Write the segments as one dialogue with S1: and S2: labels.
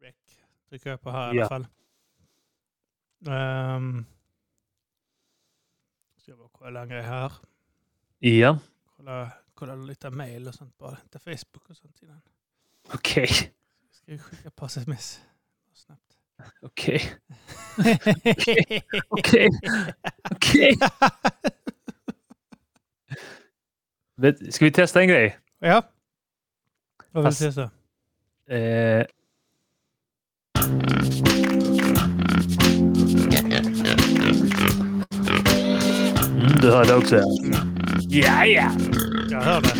S1: Väck trycker jag på här i
S2: Ja.
S1: alla fall. Ehm, ska jag bara kolla en grej här.
S2: Ja,
S1: Kolla, kolla lite mail och sånt bara. Inte Facebook och sånt innan.
S2: okej.
S1: Jag ska ju skicka ett par sms. Snabbt.
S2: Okej. Okej. Okej. Vet- Ska vi testa en grej?
S1: ja. Vad vill
S2: Fast-
S1: du testa?
S2: Eh, Mm, du hörde också ja. Ja, ja.
S1: Jag hör det.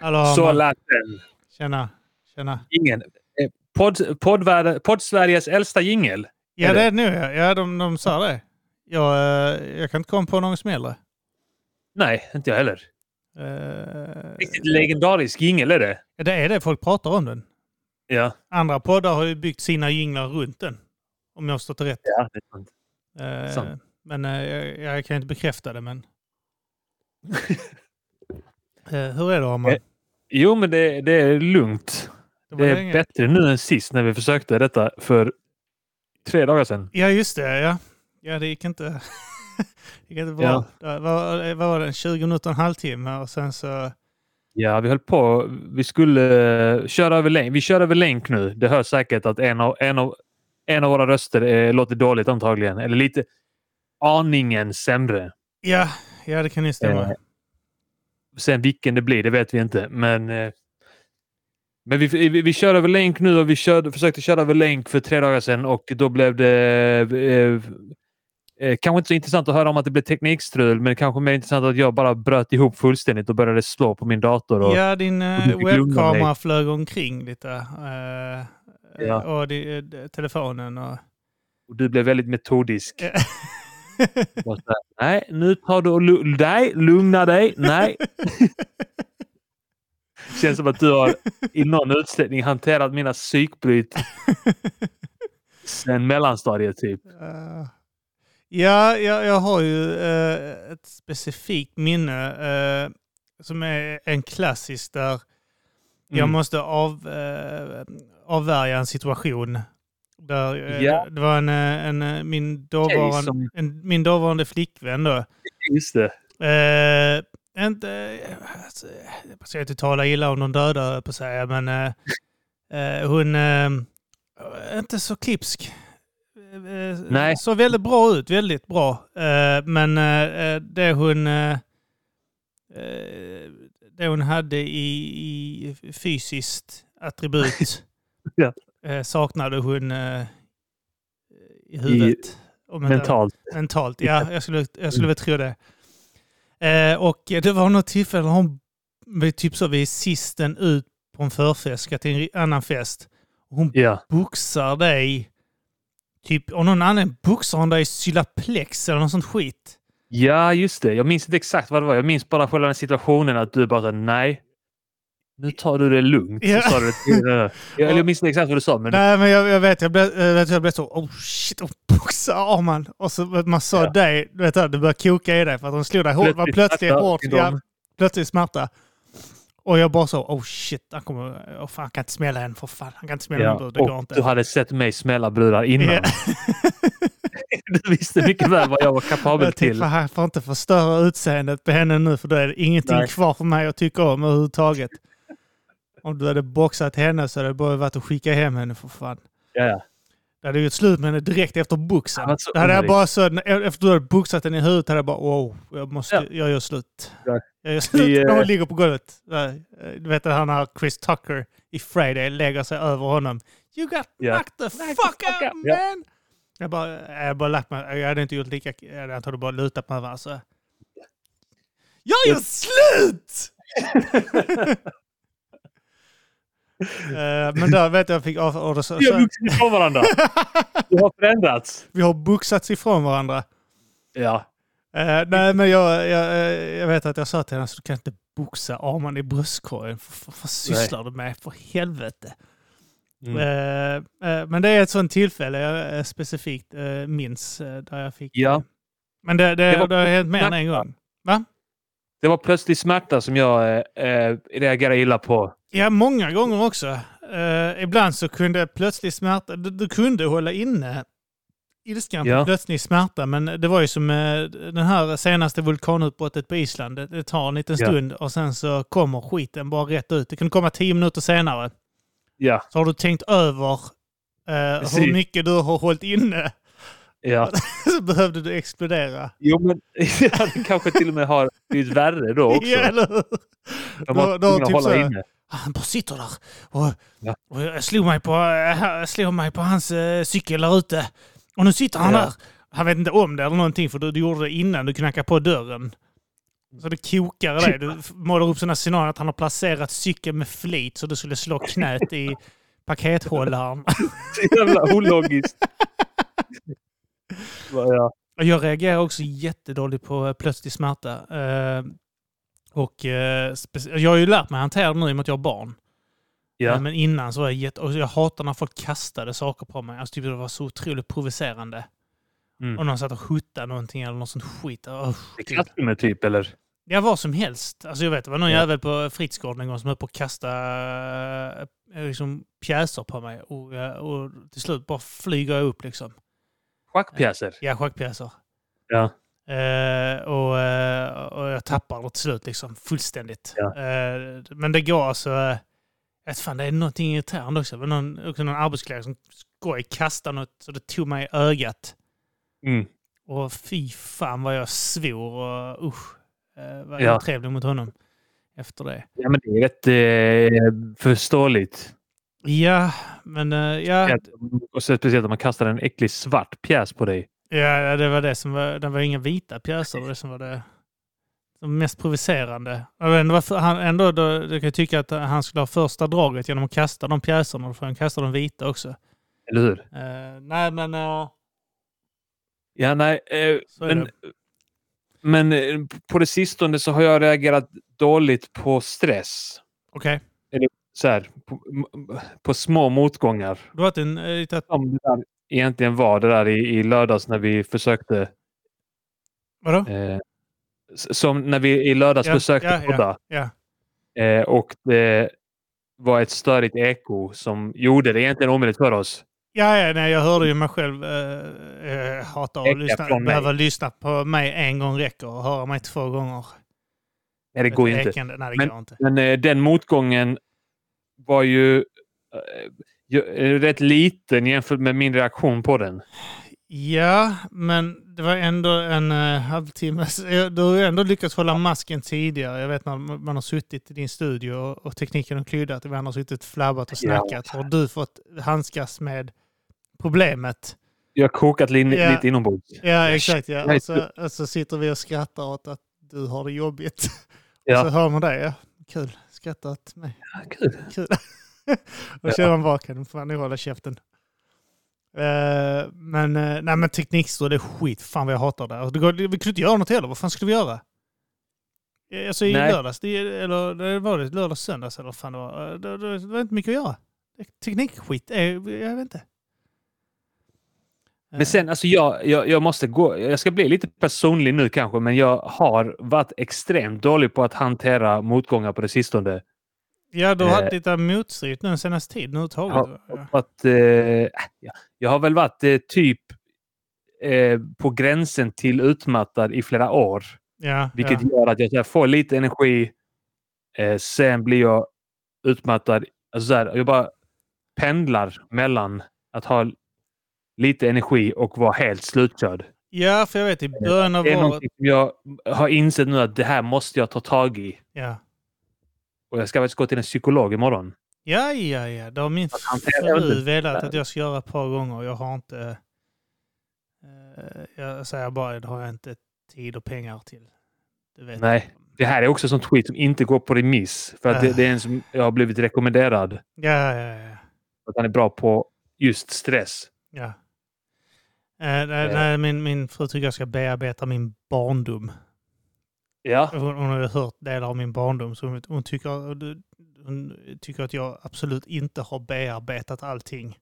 S1: Hallå,
S2: Så
S1: man-
S2: lät den.
S1: tjena, tjena.
S2: Ingen. Eh, Podd, poddvärlden- Podd-Sveriges äldsta jingel.
S1: Ja,
S2: Är
S1: det
S2: det?
S1: är det nu. ja. Ja, de, de sa det. Jag, eh, jag kan inte komma på någon som är äldre.
S2: Nej, inte jag heller.
S1: Eh,
S2: Riktigt legendarisk jingel är det.
S1: Det är det, folk pratar om den.
S2: Ja.
S1: Andra poddar har ju byggt sina jinglar runt den. Om jag har förstått det rätt.
S2: ja det är sant.
S1: Eh,
S2: Sant.
S1: Men eh, jag, jag kan inte bekräfta det, men... eh, hur är det, Arman?
S2: Eh, Jo, men det, det är lugnt.
S1: Det var
S2: Det är
S1: länge.
S2: Eh, bättre nu än sist när vi försökte detta för tre dagar sedan.
S1: Ja, just det. Ja, ja det gick inte... det gick inte bra.
S2: Ja.
S1: Det var, vad var det? 20 minuter och en halvtimme och sen så...
S2: Ja, vi höll på. Vi skulle eh, köra över länk. Vi kör över länk nu. Det hörs säkert att en av, en av, en av våra röster eh, låter dåligt antagligen. Eller lite aningen sämre.
S1: Ja, ja det kan ju stämma.
S2: Eh, Sen vilken det blir, det vet vi inte. Men, eh, men vi, vi, vi kör över länk nu och vi körde, försökte köra över länk för tre dagar sedan och då blev det... Eh, eh, kanske inte så intressant att höra om att det blev teknikstrul, men kanske mer intressant att jag bara bröt ihop fullständigt och började slå på min dator. Och,
S1: Ja, din eh,
S2: och du fick lugna
S1: webbkamera flög omkring lite. eh, eh,
S2: Ja.
S1: Och det, eh, d- telefonen och...
S2: och du blev väldigt metodisk.
S1: Ja.
S2: Och så här, nej, nu tar du och lu- nej, lugna dig. Nej. Känns som att du har i någon utsträckning hanterat mina psykbryt sen mellanstadiet typ.
S1: Eh, ja, jag, jag har ju eh, ett specifikt minne eh, som är en klassisk där jag
S2: Mm.
S1: måste av, eh, avvärja en situation. Där, eh,
S2: Ja.
S1: Det var en, eh, en, eh, min,
S2: Okej,
S1: dåvarande,
S2: som,
S1: en, min dåvarande flickvän då.
S2: just det.
S1: Eh, inte, alltså, jag ska inte tala illa om de döda, höll jag på att säga, men eh, eh, hon eh, inte så klipsk. Eh,
S2: Nej.
S1: Såg väldigt bra ut, väldigt bra. Eh, men eh, det hon eh, eh, det hon hade i, i fysiskt attribut
S2: Ja.
S1: eh, saknade hon eh, i huvudet. Om inte-
S2: Mentalt.
S1: Mentalt, ja. Jag skulle, jag skulle väl tro det. Eh, och det var något tillfälle när hon vi typ så vi är sisten ut på en förfest, ska till en ri- annan fest. Hon
S2: Ja.
S1: boxar dig, typ av någon annan boxar hon dig i sylaplex eller något sånt skit.
S2: ja, just det. Jag minns inte exakt vad det var. Jag minns bara själva den situationen att du bara nej. Nu tar du det lugnt.
S1: Ja.
S2: Så sa du det till- ja, eller jag minns inte exakt vad du sa, men
S1: Nej men jag, jag vet, jag blev, jag vet, jag blev så oh shit, hon boxar Arman. Och så man sa
S2: Ja.
S1: dig, du vet det, det började koka i dig för att hon slog dig hårt. Det var plötsligt
S2: smärta,
S1: hårt.
S2: syndrom.
S1: Ja, plötsligt smärta. Och jag bara så, oh shit, han kommer, oh fan, han kan inte smälla henne för fan, han kan inte smälla henne,
S2: Ja,
S1: bror, det går
S2: och
S1: inte.
S2: du hade sett mig smälla brudar innan.
S1: Ja.
S2: du visste mycket väl vad jag var kapabel
S1: jag tänkte,
S2: till.
S1: fan, jag får inte förstöra utseendet på henne nu för då är det ingenting
S2: Nej.
S1: kvar för mig att tycka om överhuvudtaget. Om du hade boxat henne så hade det bara varit att skicka hem henne för fan.
S2: Ja, ja.
S1: Det hade gjort slut med henne direkt efter
S2: Det
S1: boxen.
S2: var så
S1: Det hade jag
S2: onödigt.
S1: bara så, efter du hade boxat henne i huvudet hade jag bara wow, jag, måste,
S2: Ja.
S1: jag gör slut.
S2: Ja.
S1: Jag gör slut
S2: Vi, eh,
S1: när hon ligger på golvet. Där, eh, Du vet han här Chris Tucker i Friday lägger sig över honom. You got
S2: Ja.
S1: knocked the fuck
S2: fuck
S1: up
S2: up, ja.
S1: man! Jag, bara, jag, hade bara lagt mig, jag hade inte gjort lika, jag hade antagligen bara lutat på varandra. så. Jag gör
S2: Ja.
S1: slut! Eh, Men där vet jag jag fick avorder. så-
S2: Vi har
S1: så-
S2: vuxit ifrån varandra. Du har förändrats.
S1: Vi har boxats ifrån varandra.
S2: Ja.
S1: Eh, nej, men jag, jag, eh, jag vet att jag sa till henne att du kan inte boxa Arman i bröstkorgen. F- f- Vad sysslar du med? För helvete.
S2: Mm.
S1: Eh, eh, men det är ett sånt tillfälle jag eh, specifikt eh, minns eh, där jag fick.
S2: Ja.
S1: Men det, det,
S2: Det
S1: det,
S2: var-
S1: har hänt mer än en gång. Va?
S2: Det var plötslig smärta som jag eh, eh, reagerade illa på.
S1: Ja, många gånger också. Eh, ibland så kunde plötslig smärta, du, du kunde hålla inne ilskan på
S2: Ja.
S1: plötslig smärta, men det var ju som eh, den här senaste vulkanutbrottet på Island. Det, det tar en liten
S2: Ja.
S1: stund och sen så kommer skiten bara rätt ut. Det kunde komma tio minuter senare.
S2: Ja,
S1: Så har du tänkt över eh, hur
S2: Precis.
S1: mycket du har hållit inne.
S2: ja.
S1: så behövde du explodera.
S2: Jo, men ja, det kanske till och med har blivit värre då också.
S1: Ja, eller hur?
S2: De
S1: då- då
S2: har tvungna att
S1: typ så
S2: hålla
S1: här-
S2: inne.
S1: Han bara sitter där. Och,
S2: Ja.
S1: och jag slog mig på, eh, jag slog mig på hans eh, cykel där ute. Och nu sitter han
S2: Ja.
S1: där. Han vet inte om det eller någonting för du, du gjorde det innan du knackade på dörren. Så det kokar i dig. Du f- målar upp sådana scenarier att han har placerat cykeln med flit så du skulle slå knät i pakethållaren.
S2: Så jävla ologiskt. Bara, ja.
S1: Och Jag reagerar också jättedåligt på eh, plötslig smärta. Eh, och, eh, speci- jag har ju lärt mig hantera det nu i och med att jag har barn. Eh,
S2: Ja.
S1: Men innan så var jag jätte... Och jag hatar när folk kastade saker på mig. Alltså, typ, det var så otroligt provocerande.
S2: Mm.
S1: Och någon satt och huttade någonting eller något sånt skit. Usch,
S2: I
S1: typ.
S2: klassrummet typ, eller?
S1: Ja, vad som helst. Alltså, jag vet, det var någon
S2: Ja.
S1: jävel på fritidsgården en gång som höll på att kasta eh, liksom, pjäser på mig. Och, eh, och till slut bara flyger jag upp liksom.
S2: Schackpjäser?
S1: Ja, schackpjäser.
S2: Ja.
S1: Eh, och, eh, och jag tappar det till slut liksom fullständigt.
S2: Ja.
S1: Eh, men det går alltså... eh, Jag vet fan, det är någonting irriterande också. Men någon, också någon arbetskollega som skoj kastade något så det tog mig i ögat.
S2: Mm.
S1: Och fy fan vad jag svor och usch. Eh, var
S2: Ja.
S1: jag trevlig mot honom efter det.
S2: Ja, men det är rätt eh, förståeligt.
S1: Ja, men eh, ja,
S2: Och så speciellt om man kastar en äcklig svart pjäs på dig.
S1: ja, det var det som var... Det var inga vita pjäser. Det var det som var det, det mest provocerande. Jag vet inte varför han, ändå då, jag kan jag tycka att han skulle ha första draget genom att kasta de pjäserna. Då får han kasta de vita också.
S2: Eller hur?
S1: Eh, nej, men... eh,
S2: Ja, nej. Eh,
S1: så är
S2: men,
S1: det.
S2: men eh, på det sistone så har jag reagerat dåligt på stress.
S1: Okej.
S2: Så här, på, m- på små motgångar.
S1: Du har varit en... eh, lite-
S2: Som det där egentligen var det där i, i lördags när vi försökte.
S1: Vadå?
S2: Eh, s- som när vi i lördags
S1: Ja,
S2: försökte
S1: ja, ja,
S2: podda.
S1: ja.
S2: Eh, och det var ett störigt eko som gjorde det egentligen omöjligt för oss.
S1: Ja, ja nej, jag hörde ju mig själv. eh, eh, hatar
S2: Äcka
S1: att lyssna,
S2: från mig.
S1: behöva lyssna på mig en gång räcker och höra mig två gånger.
S2: Nej, det går ju inte.
S1: Ekande. Nej, det
S2: Men-
S1: går inte.
S2: Men eh, den motgången var ju eh, ju- eh, rätt liten jämfört med min reaktion på den.
S1: Ja, men det var ändå en eh, halvtimme. Så, eh, Du har ju ändå lyckats hålla masken tidigare. Jag vet när man har suttit i din studio och, och tekniken har klyddat och vi andra har suttit och flabbat och
S2: Ja.
S1: snackat. Har du fått handskas med problemet?
S2: Jag har kokat lin-
S1: Ja.
S2: lite inombords.
S1: Ja, exakt.
S2: jag
S1: Ja.
S2: är
S1: Och, så, och så sitter vi och skrattar åt att du har det jobbigt.
S2: Ja.
S1: Och så hör man det. Ja. Kul, skratta åt mig.
S2: Ja, kul.
S1: Kul. och kör man baken, får han nu hålla käften. Eh, men, uh, nej, men teknikstrul är skit. Fan vad jag hatar det. Och det går, vi kunde inte göra något heller. Vad fan skulle vi göra? Eh, Alltså i
S2: Nej.
S1: lördags, det, eller det var det lördags, söndags eller vad fan det var. Eh, Det, det, det var inte mycket att göra. Teknikskit, eh, jag vet inte. Eh,
S2: Men sen, alltså jag, jag, jag måste gå. Jag ska bli lite personlig nu kanske, men jag har varit extremt dålig på att hantera motgångar på det sistone.
S1: Ja, du har
S2: Eh,
S1: haft lite motstridigt nu den senaste tiden överhuvudtaget. Ja.
S2: Och Att, eh, ja, jag har väl varit eh, typ eh, på gränsen till utmattad i flera år.
S1: Ja,
S2: Vilket gör att jag så här får lite energi. Eh, sen blir jag utmattad. Alltså så här, jag bara pendlar mellan att ha lite energi och vara helt slutkörd.
S1: ja, för jag vet i början av
S2: Eh, Det är
S1: året...
S2: någonting som jag har insett nu att det här måste jag ta tag i.
S1: Ja.
S2: Och jag ska faktiskt gå till en psykolog imorgon.
S1: ja, ja, ja. Det har min
S2: han
S1: fru
S2: tävlar.
S1: velat att jag ska göra ett par gånger. Jag har inte... eh, Jag säger bara, det har jag inte tid och pengar till. Du vet.
S2: Nej. Det här är också sånt skit som inte går på remiss. För
S1: Äh.
S2: att det, det är en som jag har blivit rekommenderad.
S1: Ja, ja, ja.
S2: Att han är bra på just stress.
S1: ja. Eh, nej,
S2: Eh.
S1: nej, min, min fru tycker jag ska bearbeta min barndom.
S2: Ja.
S1: Hon, hon har ju hört delar av min barndom. Så hon, hon tycker... och du- hon tycker att jag absolut inte har bearbetat allting.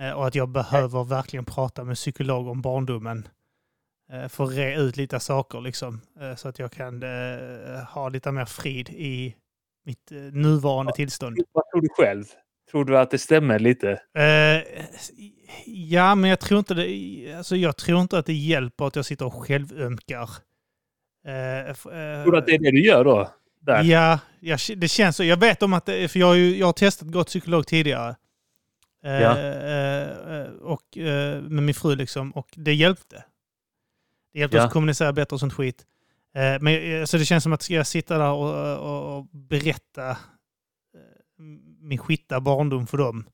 S1: Eh, och att jag behöver verkligen prata med psykolog om barndomen. Eh, för att re ut lite saker liksom. Eh, så att jag kan eh, ha lite mer frid i mitt eh, nuvarande tillstånd.
S2: Vad tror du själv? Tror du att det stämmer lite?
S1: Eh, ja, men jag tror, inte det, alltså jag tror inte att det hjälper att jag sitter och självömkar. Eh, f- eh,
S2: Tror du att det är det du gör då? Där.
S1: Ja, jag, det känns så. Jag vet om att det, för jag har, ju, jag har testat gått psykolog tidigare. Eh,
S2: Ja.
S1: eh, eh, och, eh, med min fru liksom, och det hjälpte. Det hjälpte
S2: Ja.
S1: oss att kommunicera bättre och sånt skit. Eh, men jag- jag- så det känns som att ska jag sitta där och, och, och berätta eh, min skitta barndom för dem.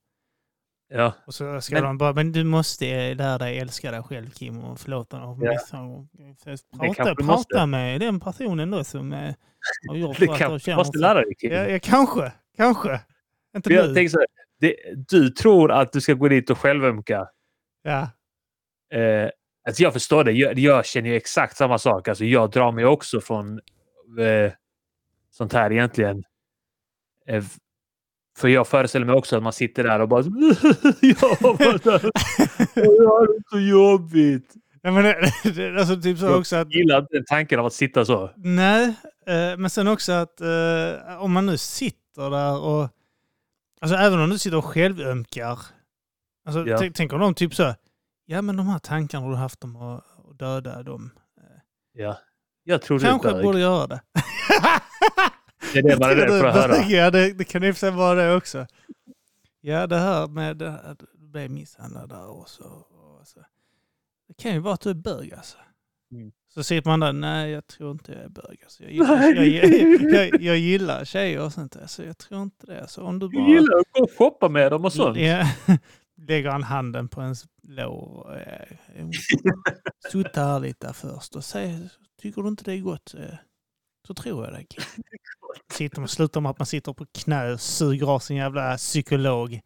S2: Ja.
S1: Och så ska
S2: Men-
S1: de bara, men du måste lära dig älska dig själv Kim och förlåta och
S2: Ja.
S1: misstag.
S2: kanske
S1: eh, Prata,
S2: du
S1: prata
S2: måste.
S1: med den personen då som eh, har gjort
S2: Du
S1: så att
S2: kan,
S1: du
S2: du
S1: känner
S2: måste
S1: så.
S2: lära dig. Kim.
S1: Ja, ja, kanske. Kanske. Inte
S2: För jag
S1: nu.
S2: tänker så här, det, du tror att du ska gå dit och självömka.
S1: Ja.
S2: Eh, alltså jag förstår det. Jag, jag känner ju exakt samma sak. Alltså jag drar mig också från eh, sånt här egentligen. Eh, f- för jag föreställer mig också att man sitter där och bara... jag var där. Och jag har det så jobbigt.
S1: Nej, men det, det, alltså typ så
S2: Jag-
S1: också att,
S2: Jag gillar inte tanken av att sitta så.
S1: nej, eh, men sen också att eh, om man nu sitter där och, alltså även om du sitter och självömkar, alltså
S2: Ja.
S1: tänk- tänk om de typ så, ja men de här tankarna har du haft om att att döda dem,
S2: Ja. Jag tror
S1: kanske
S2: du är bög.
S1: borde göra det.
S2: Det är det man är rädd för att höra.
S1: Ja, det, det kan i och för sig vara det också. Ja, det här med det här, att du blev misshandlad där och så, och så. Det kan ju vara att du är bög alltså.
S2: Mm.
S1: Så sitter man där, nej jag tror inte jag är bög. Alltså. Jag,
S2: Nej.
S1: gillar, jag, jag, jag, jag gillar tjejer och sånt där, så jag tror inte det. Alltså, om du
S2: Du
S1: bara...
S2: gillar att gå och shoppa med dem och sånt.
S1: Ja. Lägger han handen på ens lår. eh, och Sutta här lite först och säg, tycker du inte det är gott eh, så tror jag det. Kim." Sitter man, slutar med att man sitter på knä och suger av sin jävla psykolog.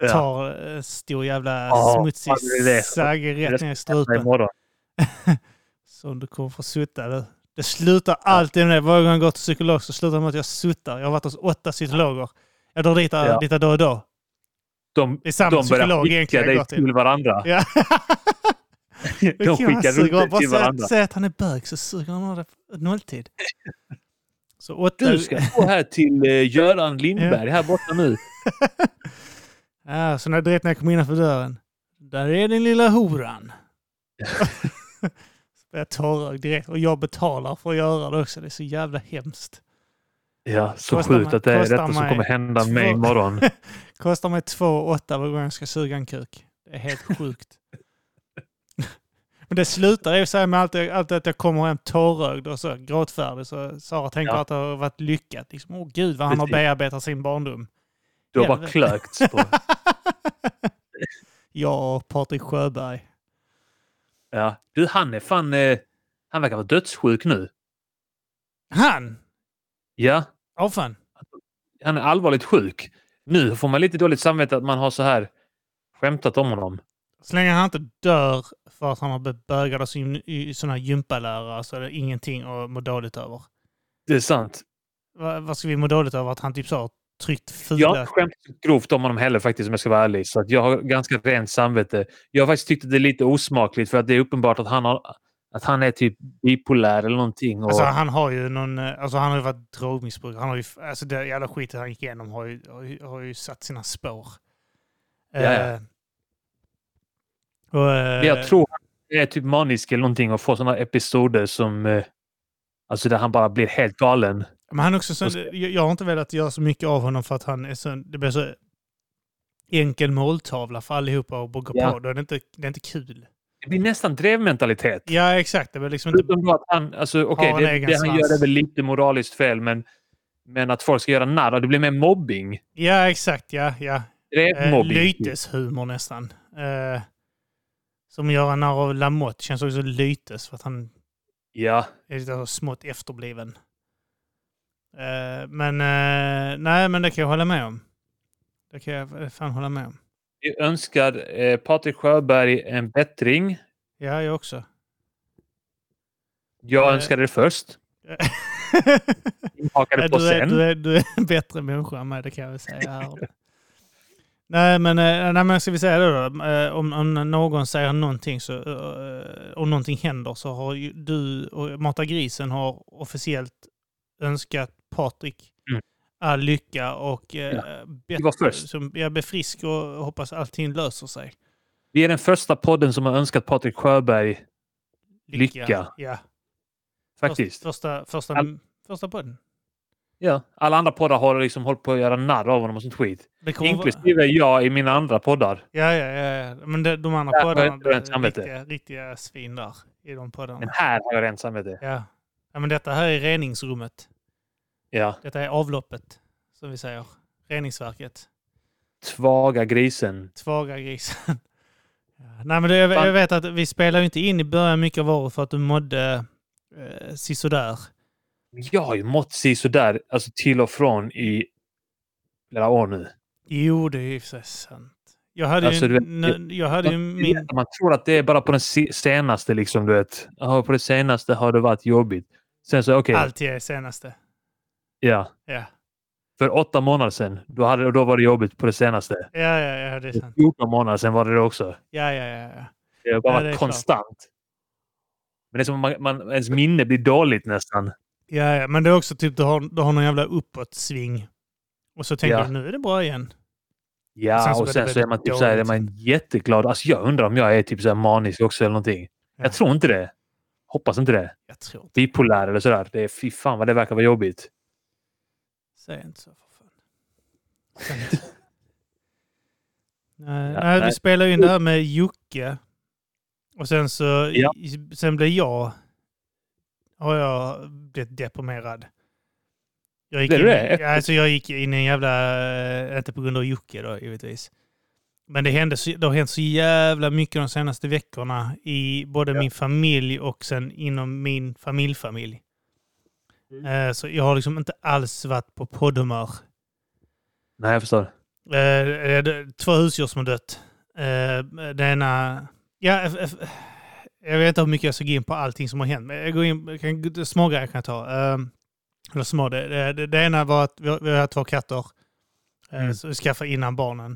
S2: Ja.
S1: Tar eh, stor jävla
S2: Ja,
S1: smutsig
S2: fan, det är det.
S1: sagg
S2: Det
S1: rätt ner i
S2: Nej,
S1: strupen.
S2: imorgon.
S1: Som du kommer få sutta. Det, det slutar alltid med det. Varje gång jag går till psykolog så slutar det med att jag suttar. Jag har varit hos åtta psykologer. Jag drar dit eh,
S2: Ja.
S1: lite då och då.
S2: De,
S1: Det är samma
S2: de börjar
S1: psykolog
S2: skicka
S1: egentligen jag går
S2: dig
S1: till.
S2: till varandra.
S1: Ja.
S2: De skickar runt dig till varandra.
S1: Bara säg att han är bög så suger han av det nolltid. Så åtta...
S2: Du ska gå här till eh, Göran Lindberg här borta nu.
S1: Ja, så när, direkt när jag kom innanför dörren. Där är din lilla horan. så blir jag tårögd direkt. Och jag betalar för att göra det också. Det är så jävla hemskt.
S2: Ja, så
S1: Kostar
S2: sjukt
S1: mig-
S2: att det är
S1: kostar
S2: detta som
S1: mig
S2: kommer hända mig
S1: två-
S2: imorgon.
S1: Kostar mig två och åtta varje gång jag ska suga en kuk. Det är helt sjukt. Men det slutar i och för sig med alltid, alltid att jag kommer hem tårögd och så gråtfärdig. Så Sara tänker
S2: Ja.
S1: att det har varit lyckat. Liksom, Åh gud vad han har
S2: Precis.
S1: bearbetat sin barndom.
S2: Du har bara
S1: Helvete.
S2: klökt på.
S1: jag och Patrik Sjöberg.
S2: Ja. Du, han är fan... Eh, han verkar vara dödssjuk nu.
S1: Han!
S2: Ja,
S1: Åh fan.
S2: han är allvarligt sjuk. Nu får man lite dåligt samvete att man har så här skämtat om honom.
S1: Så länge han inte dör för att han har blivit bögad av sin, i sån här gympalärare så är det ingenting att må dåligt över.
S2: Det är sant.
S1: Va- Vad ska vi må dåligt över? Att han typ så har tryckt
S2: Jag har
S1: fula...
S2: inte skämt grovt om honom heller faktiskt om jag ska vara ärlig. Så att jag har ganska rent samvete. Jag har faktiskt tyckt att det är lite osmakligt för att det är uppenbart att han, har, att han är typ bipolär eller någonting. Och,
S1: Alltså han har ju någon... eh, Alltså han har ju varit drogmissbrukare. Han har ju... Alltså det jävla skiten han gick igenom har ju, har ju, har ju satt sina spår.
S2: Ja, ja.
S1: Eh, och, eh,
S2: Men jag tror att det är typ manisk eller någonting och får sådana episoder som... eh, Alltså där han bara blir helt galen.
S1: Men han är också så,
S2: Och ska-
S1: jag jag har inte velat göra så mycket av honom för att han är så, det blir så enkel måltavla för allihopa att bara gå
S2: Ja.
S1: på. Då är det, inte, det är inte kul.
S2: Det blir nästan drevmentalitet.
S1: Ja, exakt. Det blir liksom inte...
S2: Förutom då att han... Alltså okej,
S1: Har en
S2: det,
S1: egen
S2: det han
S1: svans.
S2: gör är väl lite moraliskt fel men... Men att folk ska göra narr av det blir mer mobbing.
S1: Ja, exakt. Ja, ja. Eh,
S2: Drevmobbing.
S1: lyteshumor nästan. Eh, som Göran här av Lamotte känns också lytes för att han
S2: Ja.
S1: är lite så smått efterbliven. Eh, men eh, nej, men det kan jag hålla med om. Det kan jag eh, fan hålla med om.
S2: Vi önskar eh, Patrik Sjöberg en bättring.
S1: Ja, jag också.
S2: Jag
S1: Eh.
S2: önskar det först. hakade på
S1: Eh, du, är,
S2: sen.
S1: du, är, du är en bättre människa än mig, det kan jag väl säga. här. nej, men, eh, nej, men ska vi säga det då? Eh, Om, om någon säger någonting, så, eh, om någonting händer, så har ju du och Mata Grisen har officiellt önskat Patrik
S2: Mm.
S1: all lycka och eh, bättre-
S2: var först.
S1: Som, jag blir frisk och hoppas allting löser sig.
S2: Vi är den första podden som har önskat Patrik Sjöberg, Lycka.
S1: Ja,
S2: faktiskt.
S1: Första, första,
S2: All-
S1: första, första podden.
S2: Ja. Alla andra poddar har liksom hållit på att göra narr av honom och sånt skit.
S1: Det kommer-
S2: Inklusive jag i mina andra poddar.
S1: Ja, ja, ja. ja. Men det, de andra
S2: Där har jag
S1: poddarna,
S2: inte rent
S1: det är
S2: samvete.
S1: riktiga, riktiga svin där i de
S2: Men
S1: poddarna.
S2: här har jag rent samvete.
S1: Ja. ja, men detta här är reningsrummet.
S2: Ja.
S1: Detta är avloppet, som vi säger. Reningsverket.
S2: Svaga grisen.
S1: Tvaga grisen. Ja. Nej, men det, jag, jag vet att vi spelar ju inte in i början mycket av året för att du mådde eh, sisådär.
S2: Jag har ju mått sisådär, alltså till och från i flera år nu.
S1: Jo, det är ju i och för sig sant. Jag hade
S2: Alltså,
S1: ju,
S2: du vet,
S1: n- jag hade ju min...
S2: Man tror att det är bara på den se- senaste, liksom, du vet. Ja, på det senaste har det varit jobbigt. Sen så, okej,
S1: Allt jag är senaste.
S2: ja.
S1: Ja.
S2: För åtta månader sedan, då, hade, då var det jobbigt på det senaste.
S1: Ja, ja, ja, det är sant.
S2: 14 månader sedan var det det också.
S1: Ja, ja, ja. ja.
S2: Det har
S1: Ja,
S2: bara varit
S1: det är klart.
S2: konstant. Men det är som att man, man, ens minne blir dåligt nästan.
S1: Ja, ja, men det är också typ du har, du har någon jävla uppåtsving. Och så tänker
S2: Ja.
S1: du nu är det bra igen.
S2: Ja,
S1: Sen så
S2: och
S1: blir
S2: sen
S1: det
S2: så är man
S1: väldigt
S2: typ så här, är
S1: dåligt.
S2: man jätteglad. Alltså jag undrar om jag är typ så här manisk också eller någonting.
S1: Ja.
S2: Jag tror inte det. Hoppas inte det.
S1: Jag tror inte.
S2: Bipolär eller sådär. Det är fy fan vad det verkar vara jobbigt.
S1: Säg inte så för fan. Säg inte. nej,
S2: Ja,
S1: nej, vi
S2: nej.
S1: spelar ju in det här med Jocke. Och sen så
S2: Ja.
S1: i- sen blir jag har jag blivit deprimerad. Jag gick
S2: Blev
S1: in,
S2: du det?
S1: Ja, alltså jag gick in i en jävla... eh, Inte på grund av Jocke då givetvis. Men det, hände, så- det har hänt så jävla mycket de senaste veckorna i både
S2: Ja.
S1: min familj och sen inom min familjfamilj.
S2: Mm.
S1: Eh, Så jag har liksom inte alls varit på poddhumör.
S2: Nej, jag förstår.
S1: Eh, eh, det- Två husdjur som har dött. Eh, Det ena... Ja, eh, eh, jag vet inte hur mycket jag såg in på allting som har hänt. Men jag går in, jag kan, små grejer kan jag ta. Eh, Eller små. Det, det- det, det ena var att vi har, vi har två katter. eh,
S2: Mm.
S1: Som vi skaffade innan barnen.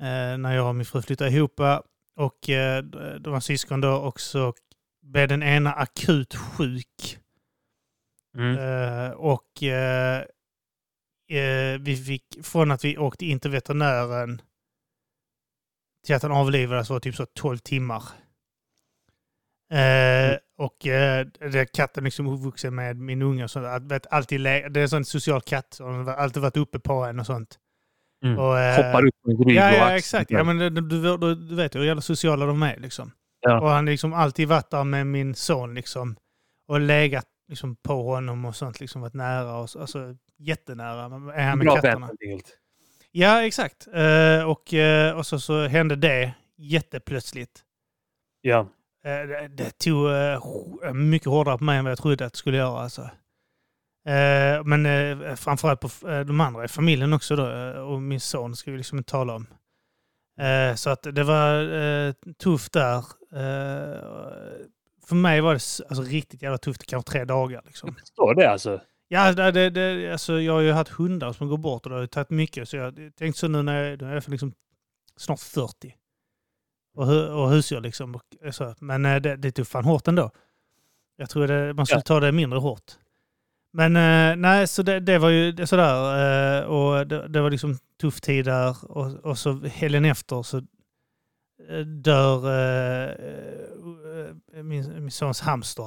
S1: Eh, När jag och min fru flyttade ihop. eh, Och eh, de var syskon då. Och så blev den ena akut sjuk.
S2: Mm.
S1: Eh, och eh, eh, vi fick, från att vi åkte in till veterinären till att han avlivades var det typ så 12 timmar. Eh,
S2: Mm.
S1: Och eh, det är katten liksom uppvuxen med min unge och sånt. Att- Vet, alltid lä- det är en sån social katt. Och den har alltid varit uppe på en och sånt.
S2: Mm.
S1: Och, eh,
S2: Hoppar upp på en rygg
S1: Ja,
S2: och
S1: ja
S2: axlar.
S1: exakt. Ja, men du, du, du, du vet ju hur jävla sociala de är. Liksom.
S2: Ja.
S1: Och han liksom alltid varit där med min son liksom. Och legat liksom, på honom och sånt. Liksom, varit nära. Och, så- alltså jättenära. Men Är han med
S2: Bra vän
S1: katterna.
S2: helt enkelt.
S1: Ja, exakt. Eh, och eh, och så, så hände det jätteplötsligt.
S2: Ja.
S1: Eh, det, det tog eh, ho- mycket hårdare på mig än vad jag trodde att det skulle göra. Alltså. Eh, men eh, framförallt på f- eh, de andra i familjen också då, eh, och min son ska vi liksom inte tala om. Eh, så att det var eh, tufft där. Eh, för mig var det s- alltså, riktigt jävla tufft, kanske tre dagar. Liksom.
S2: Jag förstår det alltså.
S1: Ja, det, det, det, alltså, jag har ju haft hundar som går bort och det har ju tagit mycket. Så jag tänkte så nu när jag, nu är jag för liksom snart 40. Och, hu- och husdjur liksom. Och, så. Men eh, det, det tog fan hårt ändå. Jag tror det, man skulle ta det mindre hårt. Men eh, nej, så det, det var ju det, sådär. eh, Och det, det var liksom tuff tid där. Och, och så helgen efter så eh, dör eh, eh, min, min sons hamster.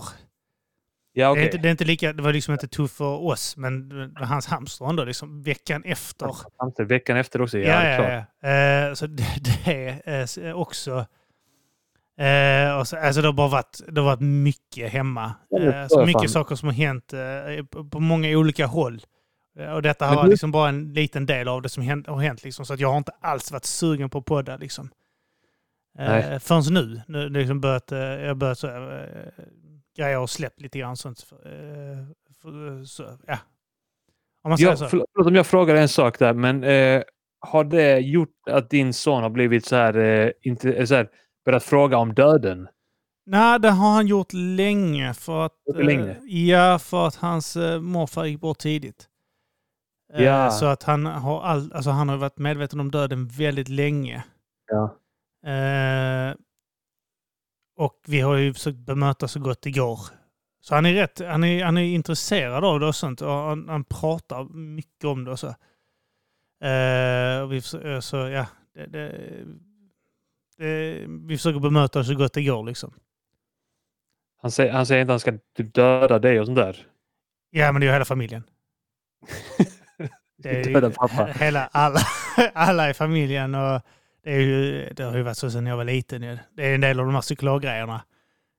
S2: Ja,
S1: Det, är
S2: okej.
S1: inte, det, är inte lika, det var liksom inte tufft för oss, men det var hans hamster ändå, liksom, veckan efter.
S2: Samtidigt, Veckan efter också. Ja,
S1: Ja,
S2: det är klart.
S1: ja, ja. Eh, så det, det är eh, s- också... Eh, och så, alltså det har bara varit, det har varit mycket hemma.
S2: Ja, det
S1: Eh,
S2: förstår
S1: så
S2: jag
S1: mycket
S2: fan.
S1: saker som har hänt eh, på, på många olika håll. Eh, och detta
S2: Men
S1: har
S2: du-
S1: liksom bara en liten del av det som hänt, har hänt. Liksom, så att jag har inte alls varit sugen på att podda. Liksom. Eh,
S2: Nej.
S1: förrän nu. Nu har det liksom börjat, eh, jag har börjat så, här, eh, grejer och släppt lite grann. Sånt, för, eh, för, så, ja. Om man säger
S2: Ja,
S1: så.
S2: förlåt förlåt om jag frågar en sak där, men eh, har det gjort att din son har blivit så här, eh, inte, eh, så här börjat fråga om döden?
S1: Nej, det har han gjort länge. För att,
S2: Gjort det länge?
S1: eh, ja, för att hans eh, morfar gick bort tidigt. Eh,
S2: Ja.
S1: Så att han har, all, alltså han har varit medveten om döden väldigt länge.
S2: Ja.
S1: Eh, och vi har ju försökt bemöta så gott det går. Så han är rätt, han är, han är intresserad av det och sånt. Och han, han pratar mycket om det och så. Eh, och vi, försö- så ja, det, det, det, vi försöker bemöta det så gott det går liksom.
S2: Han, säger, han säger inte att han ska typ döda dig och sånt där.
S1: Ja, men det är ju hela familjen. Det är ju-
S2: Döda pappa.
S1: Hela, alla, alla i familjen. Och det, är ju, det har ju varit så sedan jag var liten. ju. Det är en del av de här cyklogrejerna.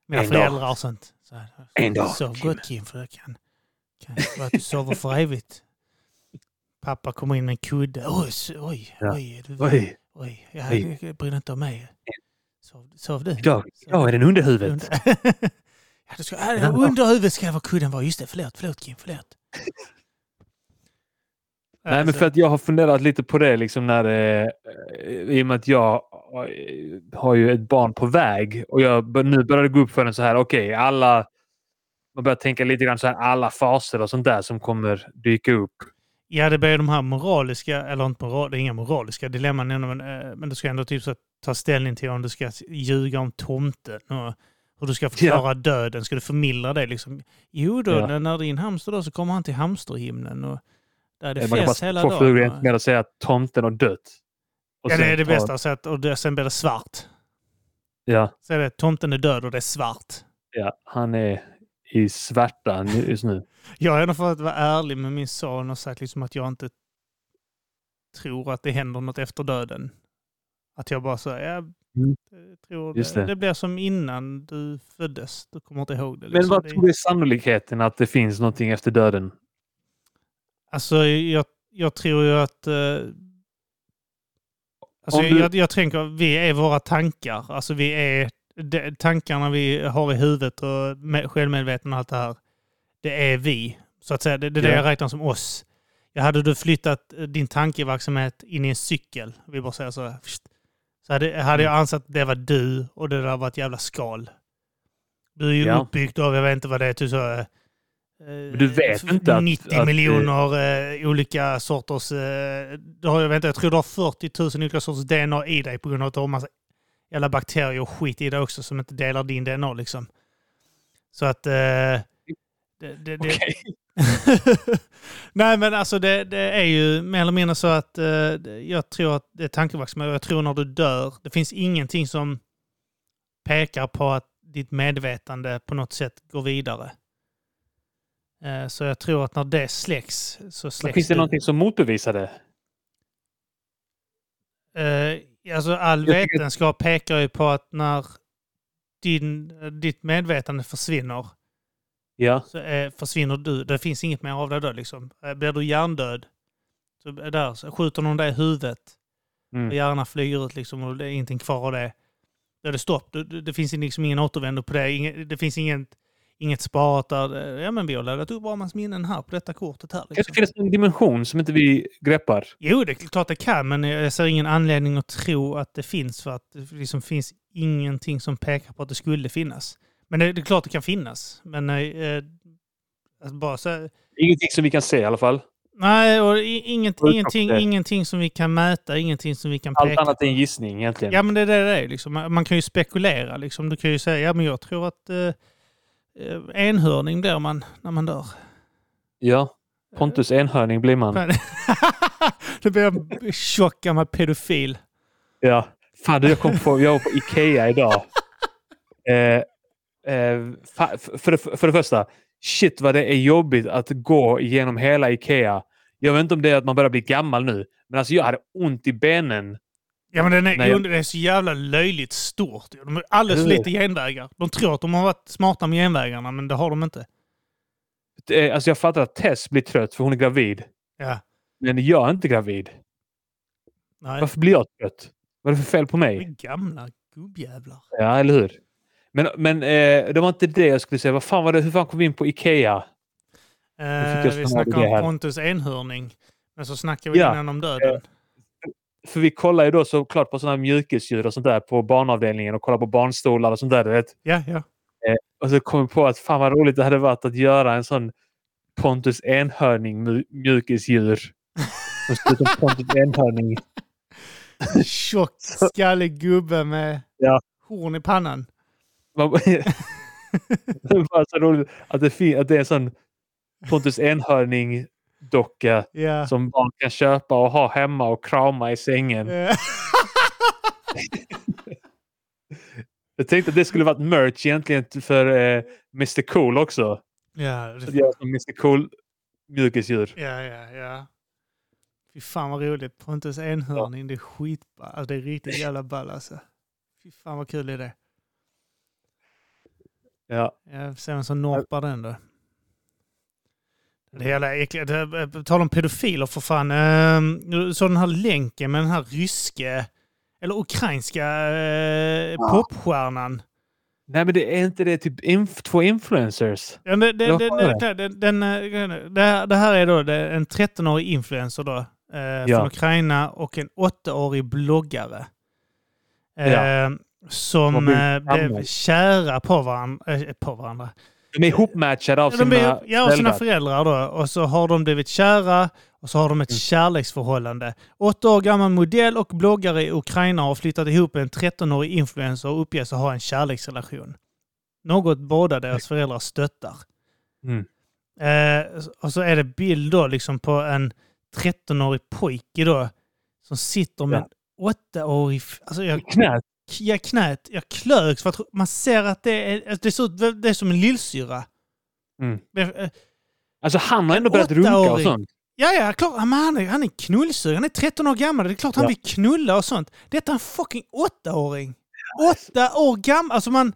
S1: Mina
S2: En dag.
S1: föräldrar och sånt. Så här,
S2: En dag,
S1: Sov
S2: Kim."
S1: gott Kim, för det kan, kan vara att du sover för evigt. Pappa kommer in med en kudde. Oj, s- oj,
S2: Ja.
S1: oj. Du, oj.
S2: Oj,
S1: oj. Ja,
S2: Oj.
S1: jag bryr dig inte om mig. Sov, sov du?
S2: idag, idag är den underhuvudet.
S1: Under, ja, du ska, äh, ja, under huvudet ska det vara kudden vara. Just det, förlåt, förlåt Kim, förlåt.
S2: Nej, men
S1: Alltså,
S2: för att jag har funderat lite på det liksom när eh, i och med att jag eh, har ju ett barn på väg och jag bör, nu börjar det gå upp för en så här, okej, alla man börjar tänka lite grann så här, alla faser och sånt där som kommer dyka upp.
S1: Ja, det blir de här moraliska, eller inte moral, det är inga moraliska dilemman, ännu, men, eh, men du ska ändå typ så att ta ställning till om du ska ljuga om tomten och hur du ska förklara döden. Ska du förmildra det? Liksom? Jo, då,
S2: Ja.
S1: när- när din hamster då så kommer han till hamsterhimlen och där är det
S2: Eh, man kan
S1: fest
S2: bara
S1: hela
S2: få flugor i en
S1: dagen.
S2: smäll och säga att tomten har dött. Och
S1: Ja, det
S2: sen
S1: är det
S2: ta-
S1: bästa. Så att, och det, sen blir det svart.
S2: Ja,
S1: Så är det tomten är död och det är svart.
S2: ja, han är i svärtan just nu.
S1: Jag har ändå fått vara ärlig med min son och sagt liksom att jag inte tror att det händer något efter döden. Att jag bara säger, jag tror
S2: Mm. Just
S1: det.
S2: det.
S1: det blir som innan du föddes. Du kommer inte ihåg det.
S2: Men
S1: Liksom.
S2: vad
S1: Det-
S2: tror du är sannolikheten att det finns någonting efter döden?
S1: Alltså jag, jag tror ju att... Eh, alltså,
S2: Om du-
S1: jag, jag tänker, vi är våra tankar. Alltså vi är... De, tankarna vi har i huvudet och med, självmedvetna och allt det här. Det är vi. Så att säga, det, det är det
S2: Ja.
S1: jag räknar som oss. Ja, hade du flyttat eh, din tankeverksamhet in i en cykel, vi bara säger så, här, pst, så hade, hade
S2: Mm.
S1: jag ansett att det var du och det där var ett jävla skal. Du är ju
S2: Ja.
S1: uppbyggd av, jag vet inte vad det är, typ så... eh,
S2: du vet
S1: eh,
S2: inte att-
S1: 90
S2: att det-
S1: miljoner eh, olika sorters... Eh, du har, jag, vet inte, jag tror du har 40 000 olika sorters DNA i dig på grund av att du har massa jävla bakterier och skit i dig också som inte delar din DNA liksom. Så att... Eh, det, det, det,
S2: Okej.
S1: Nej men alltså det, det är ju mer eller mindre så att eh, det- jag tror att det är tankeverksamhet. Jag tror när du dör, det finns ingenting som pekar på att ditt medvetande på något sätt går vidare. Eh, Så jag tror att när det släcks så
S2: Men
S1: släcks
S2: Finns det
S1: du-
S2: någonting som motbevisar det?
S1: Eh, Alltså all
S2: Jag tycker-
S1: vetenskap pekar ju på att när din, ditt medvetande försvinner
S2: Ja.
S1: så eh, försvinner du. Det finns inget mer av det då liksom. Eh, Blir du hjärndöd så, är där, så skjuter någon dig i huvudet och
S2: Mm.
S1: hjärnan flyger ut liksom och det är ingenting kvar av det. Då är det stopp. Det, det, det finns liksom ingen återvändo på det. Inget, det finns inget, inget sparat där. eh, Ja men vi har laddat upp Armans minnen här på detta kortet här.
S2: Kan det
S1: Liksom.
S2: finnas en dimension som inte vi greppar?
S1: Jo, det är klart det kan, men jag ser ingen anledning att tro att det finns för att det liksom finns ingenting som pekar på att det skulle finnas. Men det, det är klart det kan finnas. Men eh, alltså bara så här,
S2: Ingenting som vi kan se i alla fall.
S1: Nej, och i- inget,
S2: Och
S1: ingenting,
S2: det.
S1: ingenting som vi kan mäta, ingenting som vi kan
S2: Allt
S1: peka
S2: annat är en gissning egentligen.
S1: Ja, men det är det det är. Liksom. Man man kan ju spekulera. Liksom. Du kan ju säga, ja men jag tror att eh, eh, enhörning blir man när man dör.
S2: Ja. Pontus enhörning blir man.
S1: det blir en tjock gammal pedofil.
S2: Ja. Fan, du, jag kom på, jag var på Ikea idag. Eh, eh, fa, för, det- för det första, shit vad det är jobbigt att gå genom hela Ikea. Jag vet inte om det är att man börjar bli gammal nu, men alltså jag hade ont i benen.
S1: Ja, men den är,
S2: Nej, jag-
S1: det är så jävla löjligt stort. De har alldeles för
S2: Eller hur?
S1: lite genvägar. De tror att de har varit smarta med genvägarna, men det har de inte.
S2: Eh, Alltså jag fattar att Tess blir trött för hon är gravid.
S1: Ja.
S2: Men jag är inte gravid.
S1: Nej.
S2: Varför blir jag trött? Vad är det för fel på
S1: De
S2: mig?
S1: är Gamla gubbjävlar.
S2: Ja, eller hur? Men, men eh, det var inte det jag skulle säga. Vad fan var det? Hur fan kom vi in på Ikea?
S1: Eh,
S2: fick jag
S1: vi
S2: snarare
S1: snackar
S2: det
S1: om
S2: här.
S1: Pontus enhörning, men så snackar vi
S2: Ja.
S1: innan om döden.
S2: För vi kollar ju då såklart på sådana här mjukisdjur och sånt där på barnavdelningen och kollar på barnstolar och sånt där. du Vet.
S1: Ja, ja.
S2: Och så kom vi på att fan vad roligt det hade varit att göra en sån Pontus Enhörning mju- mjukisdjur. Som ser ut som Pontus Enhörning.
S1: Tjock, skallig gubbe med
S2: Ja.
S1: horn i pannan.
S2: Man- det var så roligt att det, fin- att det är en sån Pontus Enhörning-docka
S1: Ja.
S2: som barn kan köpa och ha hemma och krama i sängen.
S1: Eh,
S2: Jag tänkte att det skulle varit merch egentligen för eh, Mr Cool också.
S1: ja, det-
S2: Att göra som Mr Cool mjukisdjur.
S1: ja, ja, ja. Fy fan vad roligt. Pontus Enhörning, det är skitball. Alltså, det är riktigt jävla ball alltså. Fy fan vad kul det är.
S2: Ja.
S1: Jag får se vem som norpar den då. Det är jävla äckligt. Det- på Tal om pedofiler för fan. Ehm, nu Så den här länken med den här ryske, eller ukrainska eh, popstjärnan.
S2: Nej, men det är inte det typ inf- två influencers?
S1: Ja, det, det,
S2: Vad
S1: det,
S2: var
S1: det, det, det, den, eh, det, här- det här är då det, en 13-årig influencer då, eh, från Ukraina och en 8-årig bloggare. Eh,
S2: Ja.
S1: Som
S2: Vad blir
S1: eh, blev
S2: gammalt.
S1: kära på varandra. Eh, på varandra.
S2: De är ihopmatchade av
S1: Ja,
S2: sina
S1: de är, ja, och sina
S2: föräldrar.
S1: föräldrar då. Och så har de blivit kära och så har de ett
S2: Mm.
S1: kärleksförhållande. Åtta år gammal modell och bloggare i Ukraina har flyttat ihop med en 13-årig influencer och uppges ha en kärleksrelation. Något båda deras föräldrar stöttar.
S2: Mm.
S1: Eh, och så är det bild då liksom på en 13-årig pojke då som sitter med
S2: Ja.
S1: en åttaårig... f- Alltså jag,
S2: Knät.
S1: jag knät, jag klöks för att man ser att det är, alltså det är, så, det är som en lillsyrra.
S2: Mm.
S1: Men, eh,
S2: Alltså han har ändå
S1: En
S2: börjat runka och
S1: åttaåring.
S2: sånt.
S1: Ja, ja, klart. Han, han, är, han är knullsugen. Han är 13 år gammal. Det är klart han
S2: Ja.
S1: vill knulla och sånt. Detta är en fucking åttaåring. Åtta år gammal. Alltså man...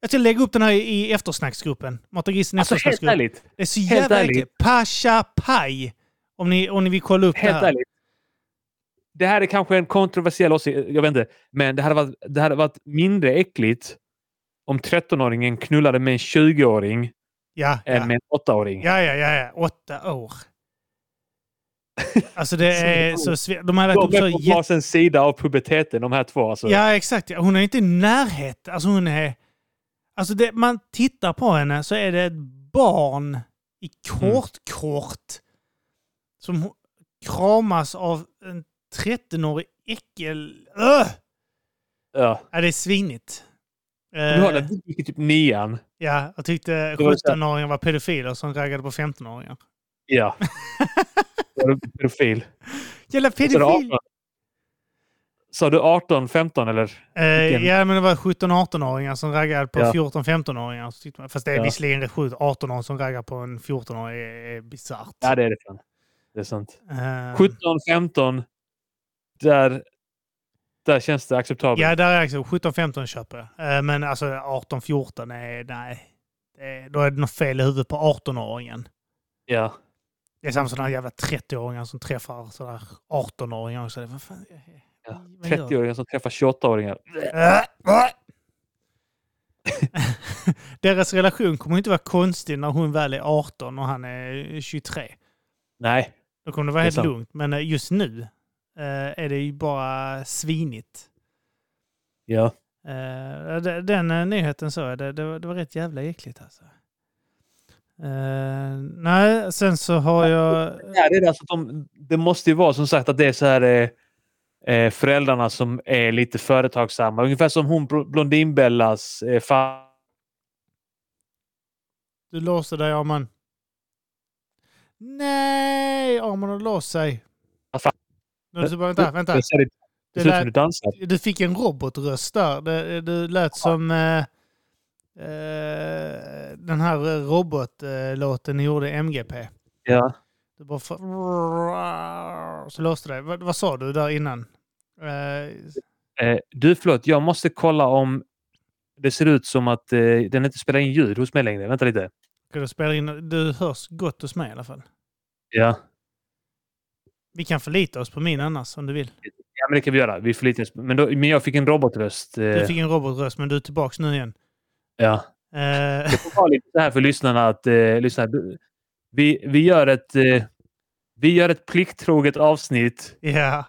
S1: Jag ska lägga upp den här i, i eftersnacksgruppen. Mata Grisen
S2: Alltså helt
S1: eftersnacksgrupp.
S2: ärligt.
S1: det är så
S2: helt
S1: jävla
S2: ärligt.
S1: äckligt. Pasha Paj. Om ni, om ni vill kolla upp
S2: Helt
S1: det här.
S2: ärligt. Det här är kanske en kontroversiell åsikt, jag vet inte. Men det hade varit, det hade varit mindre äckligt om 13-åringen knullade med en 20-åring
S1: Ja, ja.
S2: än med en 8-åring.
S1: ja, ja, ja, ja. Åtta år. Alltså det är så... sve- De har lagt upp
S2: De
S1: så
S2: är på
S1: jätte...
S2: varsin sida av puberteten, de här två. Alltså.
S1: Ja, exakt. Ja, Hon är inte i närhet. Alltså hon är... Alltså det, man tittar på henne så är det ett barn i kort, kort som ho- kramas av en 13-årig äckel... Öh!
S2: Ja.
S1: Ja, det är svinigt.
S2: Du har
S1: Eh,
S2: den gick i typ nian.
S1: ja, jag tyckte
S2: var så här-
S1: 17-åringar var pedofiler som raggade på 15-åringar.
S2: Ja. Då var du Pedofil.
S1: Jävla
S2: Sa du
S1: pedofil!
S2: 18? Sa du 18, 15 eller?
S1: Eh,
S2: Vilken-
S1: ja, men det var 17-18-åringar som raggade på
S2: Ja.
S1: 14-15-åringar. Så tyckte man- Fast det är
S2: Ja.
S1: visserligen rätt sjukt. 18-åringar som raggar på en 14-åring är, är bisarrt.
S2: Ja, det är det. Fan. Det är sant.
S1: Ehm,
S2: 17, 15. Där, där känns det acceptabelt.
S1: ja, där är jag också. 17-15 köper jag. Eh, men alltså 18-14 är... Nej. Det är, då är det något fel i huvudet på 18-åringen.
S2: Ja.
S1: Det är samma som de här jävla 30-åringar som träffar sådär 18-åringar också. Det, vad fan,
S2: Ja.
S1: vad gör
S2: 30-åringar som träffar 28-åringar.
S1: Deras relation kommer inte vara konstig när hon väl är 18 och han är 23.
S2: Nej.
S1: Då kommer det vara
S2: Det är
S1: helt
S2: sant.
S1: lugnt. Men eh, just nu eh, är det ju bara svinigt.
S2: Ja.
S1: Eh, de- den eh, nyheten så, det, det, var- det var rätt jävla äckligt alltså. Eh, nej, sen så har jag...
S2: Ja, det, är alltså att de, det måste ju vara som sagt att det är så här eh, eh, föräldrarna som är lite företagsamma. Ungefär som hon Bro- Blondinbellas eh, fa-
S1: Du låser dig Arman. Nej, Arman har låst sig.
S2: Vad fan?
S1: Nu, så bara, vänta, vänta.
S2: Det ser ut
S1: Det
S2: det ser ut som
S1: lät,
S2: du dansar.
S1: du fick en robotröst där. Det, det lät som eh, eh, den här robotlåten ni gjorde i MGP.
S2: Ja.
S1: Du bara... fa- Så låste det. Vad, vad sa du där innan? Eh,
S2: Eh, du, förlåt. Jag måste kolla om det ser ut som att eh, den inte spelar in ljud hos mig längre. Vänta lite.
S1: ska du spela in? Du hörs gott hos mig i alla fall.
S2: Ja.
S1: Vi kan förlita oss på min annars om du vill.
S2: ja men det kan vi göra. Vi förlitar oss. Men, då, men jag fick en robotröst. Eh,
S1: Du fick en robotröst men du är tillbaka nu igen.
S2: ja.
S1: Eh,
S2: Det får vara lite så här för lyssnarna att eh, lyssna. Du- Vi, vi, gör ett, eh, vi gör ett plikttroget avsnitt
S1: ja.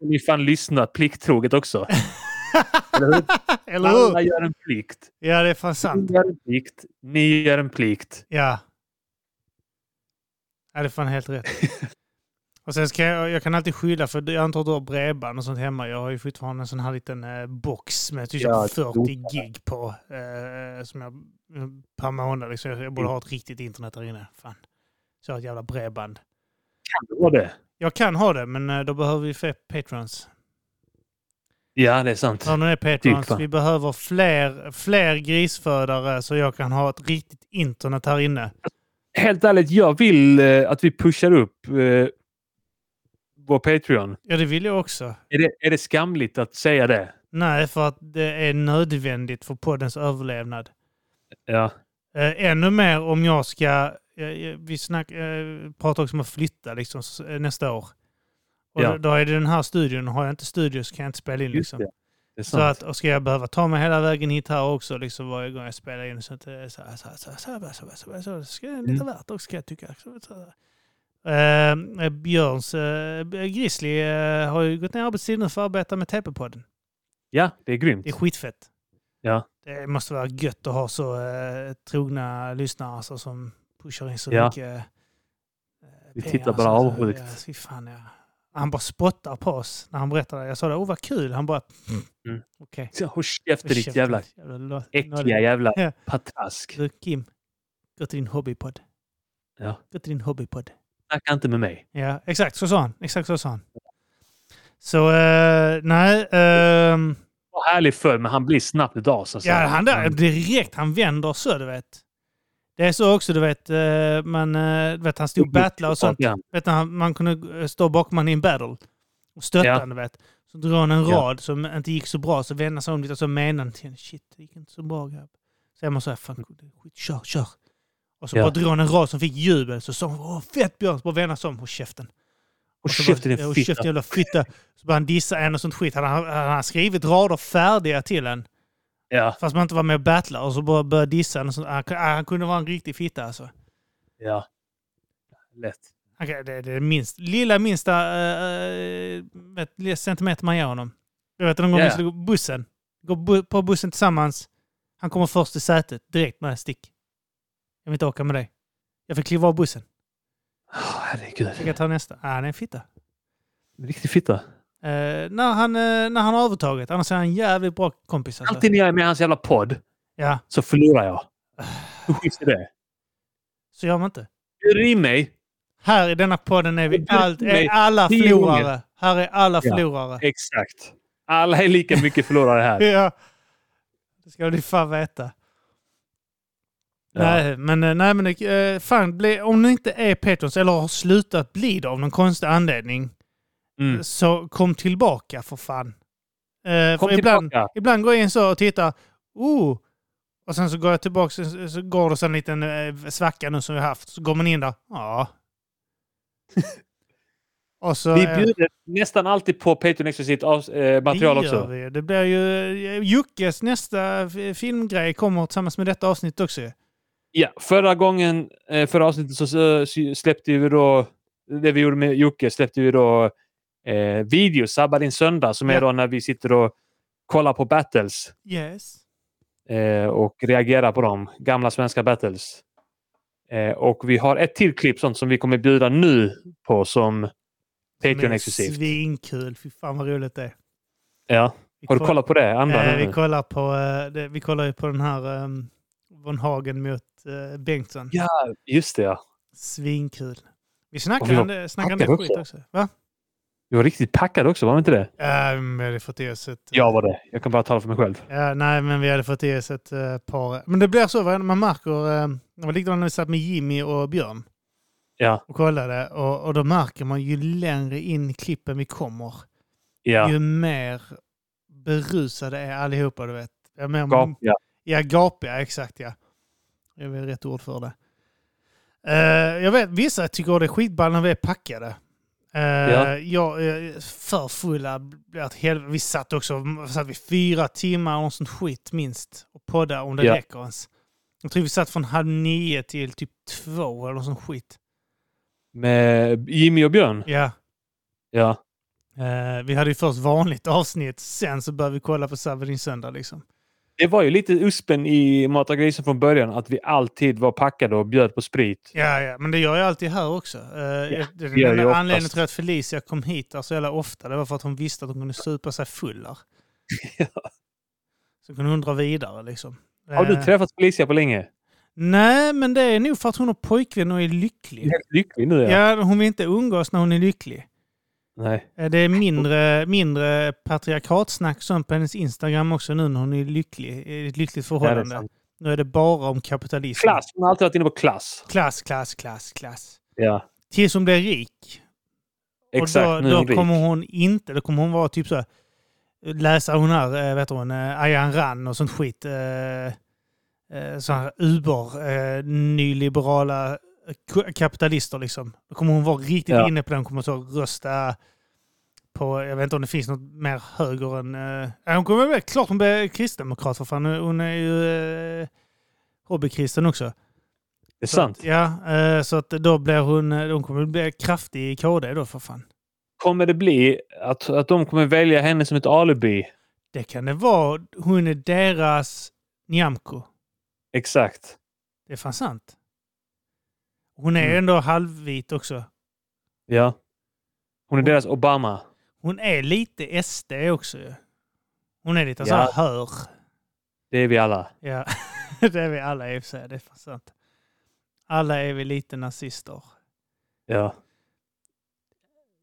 S2: ni fan lyssnat plikttroget också. Eller hur?
S1: Eller
S2: Alla
S1: hur?
S2: gör en plikt.
S1: Ja, det är fan sant.
S2: Ni gör en plikt. Ni gör en plikt.
S1: Ja. Ja, det är fan helt rätt. Och sen ska jag, jag kan alltid skylla för jag antar att du har bredband och sånt hemma. Jag har ju fortfarande en sån här liten eh, box med typ
S2: Ja,
S1: 40 gig på. Eh, som jag, per månad liksom. Jag, jag
S2: Mm.
S1: borde ha ett riktigt internet där inne. Fan. Så jag har ett jävla bredband.
S2: Kan det vara det?
S1: Jag kan ha det, men eh, då behöver vi fler patrons.
S2: Ja, det är sant.
S1: Hör ni det patrons?
S2: Typ, va?
S1: vi behöver fler, fler grisfödare så jag kan ha ett riktigt internet här inne.
S2: Helt ärligt, jag vill eh, att vi pushar upp eh, vår Patreon.
S1: Ja, det vill jag också.
S2: Är det, är det skamligt att säga det?
S1: Nej, för att det är nödvändigt för poddens överlevnad.
S2: Ja.
S1: Eh, ännu mer om jag ska... eh, eh, vi snack, eh, pratar också om att flytta liksom, s- eh, nästa år. Och
S2: Ja.
S1: då, då är det den här studion. Har jag inte studio så kan jag inte spela in.
S2: Just
S1: Liksom.
S2: det. Det är
S1: Så
S2: sant.
S1: att, och ska jag behöva ta mig hela vägen hit här också liksom, varje gång jag spelar in. Så att det är så här, så här, så här, så här, så här, så här, så här, så här. Så ska det lite
S2: Mm.
S1: värt också kan jag tycka. Så, så här. Eh, Björns eh, Grizzly eh, har ju gått ner i arbetstid nu för att arbeta med TP-podden.
S2: Ja, det är grymt.
S1: Det är skitfett.
S2: Ja.
S1: Det måste vara gött att ha så eh, trogna lyssnare alltså, som pushar in så
S2: Ja.
S1: mycket eh,
S2: Vi
S1: pengar
S2: tittar
S1: och så-
S2: bara
S1: så-
S2: avundsjukt.
S1: Ja, fy fan, ja. Han bara spottar på oss när han berättar det. Jag sa det, åh vad kul. Han bara,
S2: Mm.
S1: okej.
S2: Så, Håll käften ditt jävla
S1: lo-
S2: äckliga
S1: nollig.
S2: jävla
S1: Ja.
S2: patrask.
S1: Du Kim, gå till din hobbypodd.
S2: Ja.
S1: Gå till din hobbypodd.
S2: Snacka inte med mig.
S1: Ja, exakt så sa han. Exakt så sa han. Så eh, nej, ehm,
S2: Vad härlig för men han blir snabbt ett as. Alltså.
S1: Ja, han där direkt. Han vänder så, du vet. Det är så också, du vet. eh, Man, eh, du vet han stod och battlade och sånt.
S2: Ja.
S1: Vet, han- man kunde eh, stå bakom honom i en battle och stötta
S2: Ja.
S1: honom, du vet. Så drog han en
S2: Ja.
S1: rad som inte gick så bra, så vände han sig om lite och så menade han till henne, shit, det gick inte så bra grabb. Så är man så här, fan, skit, kör, kör. Och så
S2: Mm. Ja.
S1: bara drog han en rad som fick jubel, så sa hon, åh fett Björn, så bara vände han sig om, håll käften.
S2: Och
S1: så
S2: käften
S1: bara,
S2: din
S1: "Ja, håll
S2: fitta.
S1: käften jävla fitta. Så började han dissa en och sånt skit. Han har, han har skrivit rader färdiga till en.
S2: Ja,
S1: Fast man inte var med och battlade och så bara började dissa henne och sånt. Han, ku- ah, han kunde vara en riktig fitta alltså.
S2: ja. Lätt.
S1: Han, kan- det, det är minst, lilla minsta eh, vet, lilla centimeter man ger honom. Jag vet någon gång
S2: Ja,
S1: vi
S2: ja.
S1: skulle gå på bussen. Gå bu på bussen tillsammans. Han kommer först till sätet direkt. Nej, stick. Jag vill inte åka med dig. Jag fick kliva av bussen.
S2: Oh,
S1: Jag
S2: herregud.
S1: kan ta nästa. Ah, han är en fitta.
S2: Riktig fitta.
S1: Eh, när, han, eh, när han har övertaget. Annars är han en jävligt bra kompis. Alltså.
S2: Alltid när jag är med i hans jävla podd
S1: Ja,
S2: så förlorar jag.
S1: Ah.
S2: Hur schysst är det?
S1: så gör man inte.
S2: Bjuder in mig.
S1: Här i denna podden är vi
S2: Jag
S1: allt, är
S2: mig
S1: alla
S2: tio
S1: förlorare. Här är alla
S2: Ja.
S1: förlorare.
S2: Exakt. Alla är lika mycket förlorare här.
S1: Ja. Det ska du fan veta.
S2: Ja.
S1: Nej, men, eh, nej, men eh, fan, bli, om ni inte är Patrons eller har slutat bli det av någon konstig anledning
S2: Mm.
S1: så kom tillbaka för fan. Eh,
S2: Kom
S1: för ibland,
S2: tillbaka.
S1: ibland går jag in så och tittar. Oh, och sen så går jag tillbaka så, så går det så en liten eh, svacka nu som vi har haft. Så går man in där. Ja. och så,
S2: Vi
S1: eh,
S2: bjuder nästan alltid på Patreon exklusivt av- eh, material
S1: det gör
S2: också.
S1: Vi. ju. Det blir ju... Jukkes nästa f- filmgrej kommer tillsammans med detta avsnitt också. ju.
S2: Ja, förra gången, eh, förra avsnittet så, så så släppte vi då, det vi gjorde med Jocke, släppte vi då eh, video, Sabba din söndag, som
S1: Ja.
S2: är då när vi sitter och kollar på battles
S1: Yes.
S2: eh, och reagerar på dem, gamla svenska battles. Eh, och vi har ett till klipp sånt som vi kommer bjuda nu på som Patreon exklusivt.
S1: Svinkul. Fy fan vad roligt det är.
S2: Ja.
S1: Vi
S2: Har du
S1: koll-
S2: kollat på det? Andra
S1: eh,
S2: nu?
S1: vi kollar på, eh, det, vi kollar ju på den här um, Von Hagen mot eh, Bengtsson.
S2: Ja. Just det, ja.
S1: Svinkul. Vi
S2: Och vi
S1: snackade
S2: har
S1: om det, snackade om
S2: packar
S1: det skit också. Va?
S2: Du var riktigt packad också, var du inte det?
S1: Eh, men vi hade fått i oss ett...
S2: Jag var det. Jag kan bara tala för mig själv.
S1: Ja, nej, men vi hade fått i oss ett eh, par... Men det blir så, va? man märker... eh, Det var likadant när vi satt med Jimmy och Björn.
S2: Ja.
S1: och kollade och, och då märker man ju längre in i klippen vi kommer,
S2: Ja.
S1: ju mer berusade är allihopa, du vet. Ja, mer,
S2: Gap, ja.
S1: ja gapiga, exakt ja. Det är väl rätt ord för det. Eh, jag vet, vissa tycker det är skitball när vi är packade. Uh,
S2: Ja.
S1: Jag är för fulla. blir ett helv- Vi satt också satt vi fyra timmar och sånt skit minst och poddade om det
S2: Ja.
S1: räcker ens. Jag tror vi satt från halv nio till typ två eller sånt skit.
S2: Med Jimmy och Björn?
S1: Ja.
S2: Ja.
S1: Eh, vi hade ju först vanligt avsnitt, sen så började vi kolla på Saverin söndag liksom.
S2: Det var ju lite uspen i Mata grisen från början att vi alltid var packade och bjöd på sprit.
S1: Ja, ja, men det gör jag alltid här också. Eh, det- det är
S2: gör jag
S1: den enda
S2: oftast.
S1: anledningen till att Felicia kom hit där så jävla ofta, det var för att hon visste att hon kunde supa sig full där. Så kunde hon dra vidare liksom.
S2: Har du
S1: Eh,
S2: träffat Felicia på länge?
S1: Nej, men det är nog för att hon har pojkvän och är lycklig.
S2: Helt lycklig nu ja.
S1: Ja. hon vill inte umgås när hon är lycklig.
S2: Nej.
S1: Eh, Det är mindre, mindre patriarkatsnack som på hennes Instagram också nu när hon är lycklig. i Ett lyckligt
S2: det är
S1: förhållande.
S2: sant.
S1: nu är det bara om kapitalism.
S2: Klass. Hon har alltid varit inne på klass.
S1: klass, klass, klass. klass.
S2: Ja.
S1: Tills hon blir rik.
S2: Exakt.
S1: och
S2: nu
S1: då,
S2: är
S1: då
S2: hon rik.
S1: kommer hon inte, då kommer hon vara typ så här, läsa hon här, eh, vet hon, eh, Ayan Rand och sånt skit. Eh, eh, så här Uber, eh, nyliberala eh, k- kapitalister liksom. Då kommer hon vara riktigt
S2: Ja.
S1: inne på den, kommer så rösta på, jag vet inte om det finns något mer höger än... Eh, ja, hon kommer väl, klart hon blir kristdemokrat för fan, hon är ju eh, hobbykristen också.
S2: Det är
S1: Så
S2: sant.
S1: Att, ja, eh, så att då blir hon, eh, hon kommer bli kraftig i KD då för fan.
S2: Kommer det bli att, att de kommer välja henne som ett alibi?
S1: Det kan det vara. Hon är deras Nyamko.
S2: Exakt.
S1: Det är fan sant. Hon är
S2: Mm.
S1: ändå halvvit också.
S2: Ja. Hon är deras Obama.
S1: Hon är lite SD också ju. Hon är lite
S2: Ja.
S1: så här hör.
S2: Det är vi alla.
S1: Ja, det är vi alla i och för sig. Det är fan sant. Alla är vi lite nazister.
S2: Ja.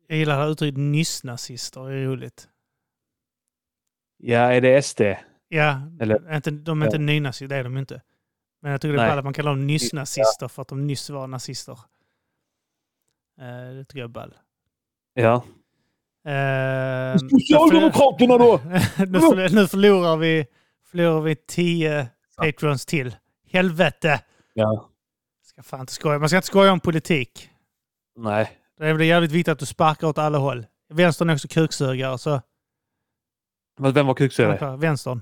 S1: Jag gillar det här uttrycket nyss-nazister. Det är roligt.
S2: Ja, är det SD?
S1: Ja,
S2: Eller-
S1: inte, de är inte nynazister, det är de inte. Men jag tycker det är
S2: Nej.
S1: ballt att man kallar dem nyss-nazister för att de nyss var nazister. Eh, Det tycker jag är ball.
S2: Ja.
S1: Eh,
S2: Socialdemokraterna då!
S1: nu, förlorar, nu förlorar vi, förlorar vi tio patrons till. Helvete!
S2: Ja.
S1: Ska fan inte skoja. Man ska inte skoja om politik.
S2: Nej.
S1: Det är väl jävligt viktigt att du sparkar åt alla håll. Vänstern är också kuksugare. Så,
S2: Men Vem var kuksugare?
S1: vänstern.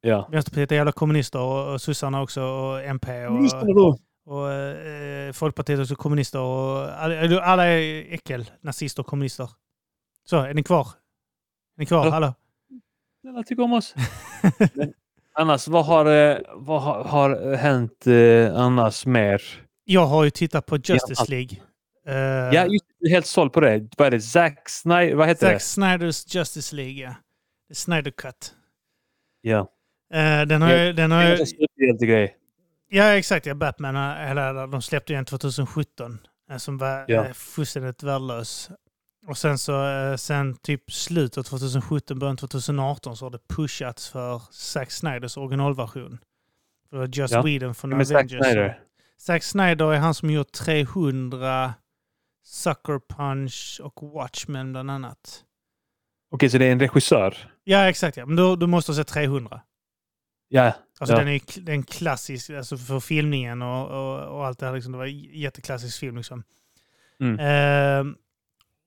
S2: Ja.
S1: Vänsterpartiet är jävla kommunister och, och sossarna också och MP. Och,
S2: då!
S1: Och eh, Folkpartiet också kommunister och alla, alla är äckel, nazister och kommunister. Så, är ni kvar? Är ni kvar?
S2: Ja.
S1: Hallå?
S2: Snälla, tyck om oss. Men annars, vad har, eh, vad har, har hänt eh, annars mer?
S1: Jag har ju tittat på Justice
S2: allt.
S1: League. Eh,
S2: Ja, just det. Jag är helt såld på det. Vad är det? Zack Snyder? Vad heter
S1: Zack Snyders Justice League, ja. The Snyder Cut.
S2: det? Ja.
S1: Eh, den har jag, den har
S2: Det är
S1: jag,
S2: en superhjälte grej.
S1: ja, exakt. Ja, Batman, eh, hela, de släppte ju en 2017 eh, som var
S2: Ja.
S1: eh, fullständigt värdelös. Och sen så, eh, sen typ slutet av 2017, början av 2018 så har det pushats för Zack Snyders originalversion. För Just
S2: Ja.
S1: Whedon från
S2: Med Zack
S1: Avengers.
S2: Snyder.
S1: Zack Snyder är han som gjort 300 Sucker Punch och Watchmen bland annat.
S2: Okej, så det är en regissör?
S1: Ja, exakt. Ja. Men då, du måste ha sett 300.
S2: Ja.
S1: Alltså
S2: Ja.
S1: den är ju kl- den klassisk, alltså för filmningen och, och, och allt det här. Liksom, det var en jätteklassisk film liksom.
S2: Mm.
S1: Ehm,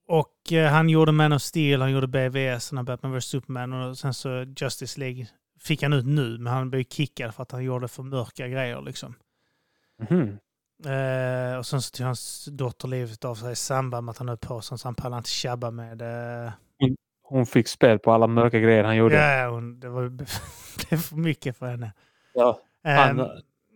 S1: och eh, han gjorde Man of Steel, han gjorde BVS, han har Batman vs Superman och sen så Justice League fick han ut nu, men han blev kickad för att han gjorde för mörka grejer liksom.
S2: Mhm.
S1: Eh, och sen så tog hans dotter livet av sig i samband med att han höll på sånt, så han pallade inte tjabba med... Eh,
S2: Hon fick spel på alla mörka grejer han gjorde.
S1: ja, ja, hon, det var det blev för mycket för henne.
S2: Ja. Han
S1: Ehm,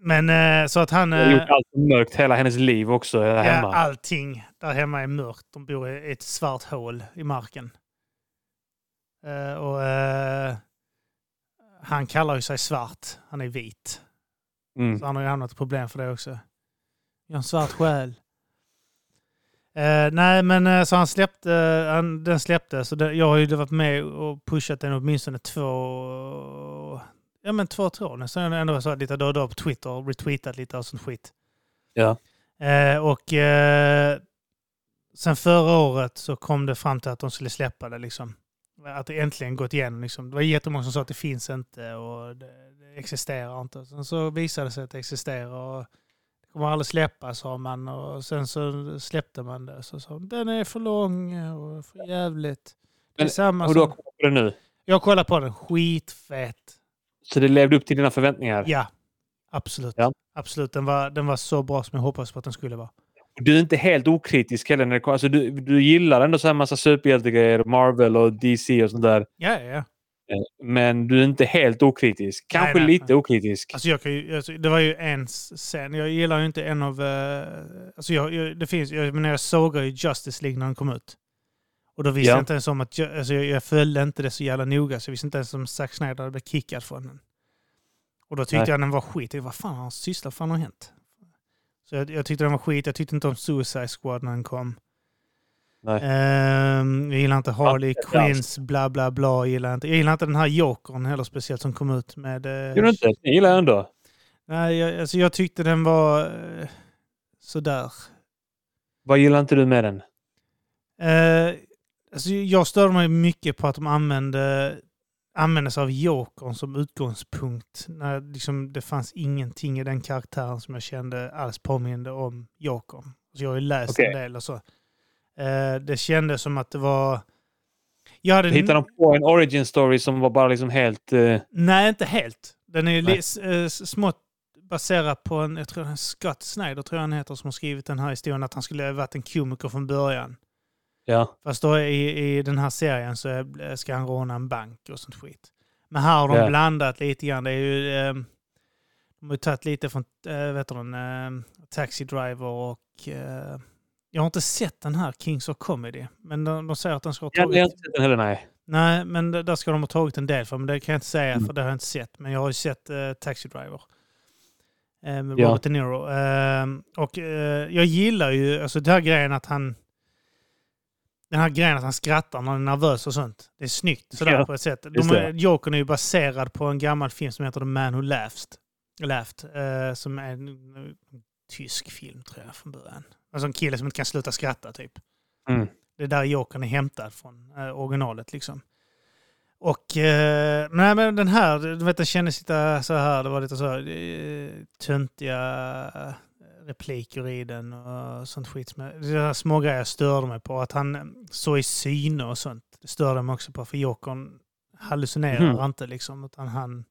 S1: men eh, så att han...
S2: har
S1: eh,
S2: gjort allt mörkt hela hennes liv också här
S1: Ja,
S2: hemma.
S1: allting där hemma är mörkt. De bor i ett svart hål i marken. Eh, och eh, Han kallar ju sig svart. Han är vit.
S2: Mm.
S1: Så han har ju hamnat i problem för det också. Jag har en svart själ. Eh, nej, men eh, så han släppte, eh, han, den släpptes. Så det, jag har ju varit med och pushat den åtminstone två, ja men två tror jag. Så jag har ändå så här lite då och då på Twitter, och retweetat lite och sånt skit.
S2: Ja.
S1: Eh, och eh, sen förra året så kom det fram till att de skulle släppa det liksom. Att det äntligen gått igenom liksom. Det var jättemånga som sa att det finns inte och det, det existerar inte. Sen så visade det sig att det existerar och det kommer aldrig släppas sa man. Och sen så släppte man det. Så sa de, den är för lång och för jävligt. Det är
S2: Men-
S1: samma
S2: Och du har
S1: som...
S2: kollat på det nu.
S1: Jag kollar på den, skitfett.
S2: Så det levde upp till dina förväntningar?
S1: Ja, absolut.
S2: Ja.
S1: Absolut, den var, den var så bra som jag hoppades på att den skulle vara.
S2: Du är inte helt okritisk heller. När det, kom- alltså, du, du gillar ändå så här massa superhjältegrejer, Marvel och DC och sånt där.
S1: Ja, ja, ja.
S2: Eh, Men du är inte helt okritisk. Kanske
S1: nej,
S2: lite
S1: nej.
S2: okritisk.
S1: Alltså jag kan ju, alltså det var ju en scen. Jag gillar ju inte en av... eh, alltså jag, jag, det finns, jag, men jag såg ju Justice League när den kom ut. Och då visste
S2: Ja.
S1: jag inte ens om att... Jag, alltså jag, jag följde inte det så jävla noga, så jag visste inte ens om Zack Snyder hade blivit kickad från den. Och då tyckte
S2: Nej.
S1: jag den var skit. Jag, vad fan har han sysslat? Vad fan har hänt? Så jag, jag tyckte den var skit. Jag tyckte inte om Suicide Squad när den kom.
S2: Nej.
S1: Ehm, jag gillar inte Harley
S2: Allt det där.
S1: Quinns bla bla bla. Jag gillar inte, jag gillar inte den här Jokern heller speciellt som kom ut med... eh,
S2: Gjorde du inte? Jag gillar ändå.
S1: Nej, jag, alltså jag tyckte den var eh, sådär.
S2: Vad gillar inte du med den?
S1: Eh, alltså jag störde mig mycket på att de använde, använde sig av Jokern som utgångspunkt. När liksom, det fanns ingenting i den karaktären som jag kände alls påminde om Jokern. Så jag har ju läst
S2: Okej.
S1: en del och så. Eh, det kändes som att det var... Jag hade
S2: Hittar de på en origin story som var bara liksom helt... eh,
S1: Nej, inte helt. Den är ju
S2: Nej.
S1: li- s- eh, s- smått baserad på en, jag tror en Scott Snyder, tror jag han heter, som har skrivit den här historien, att han skulle ha varit en komiker från början.
S2: ja.
S1: Fast då i, i den här serien så är- eh, ska han råna en bank och sånt skit. Men här har de
S2: Ja.
S1: blandat lite grann. Det är ju, ehm, de har ju tagit lite från, äh, vet du, den, ehm, Taxi Driver och... eh, jag har inte sett den här, Kings of Comedy, men de, de säger att den ska ha
S2: Jag har
S1: tagit...
S2: inte sett den heller, nej.
S1: Nej, men d- där ska de ha tagit en del för, men det kan jag inte säga
S2: Mm.
S1: för det har jag inte sett. Men jag har ju sett eh, Taxi Driver eh, med
S2: Ja.
S1: Robert De Niro. Eh, och eh, jag gillar ju, alltså den här grejen att han den här grejen att han skrattar när han är nervös och sånt. Det är snyggt sådär
S2: Ja,
S1: på ett sätt. De,
S2: just det.
S1: Jokern är ju baserad på en gammal film som heter The Man Who Laughs. Laughed, eh, som är en, en tysk film tror jag från början. Alltså en kille som inte kan sluta skratta typ.
S2: Mm.
S1: Det är där Jokern är hämtad från eh, originalet liksom. Och eh, nej, men den här, du vet den kändes lite så här, det var lite så här, eh, töntiga eh, repliker i den och sånt skit. Som, jag- det där små grejer jag störde mig på, att han eh, så i syne och sånt. Det störde jag mig också på, för Jokern hallucinerar
S2: Mhm.
S1: inte liksom, utan han,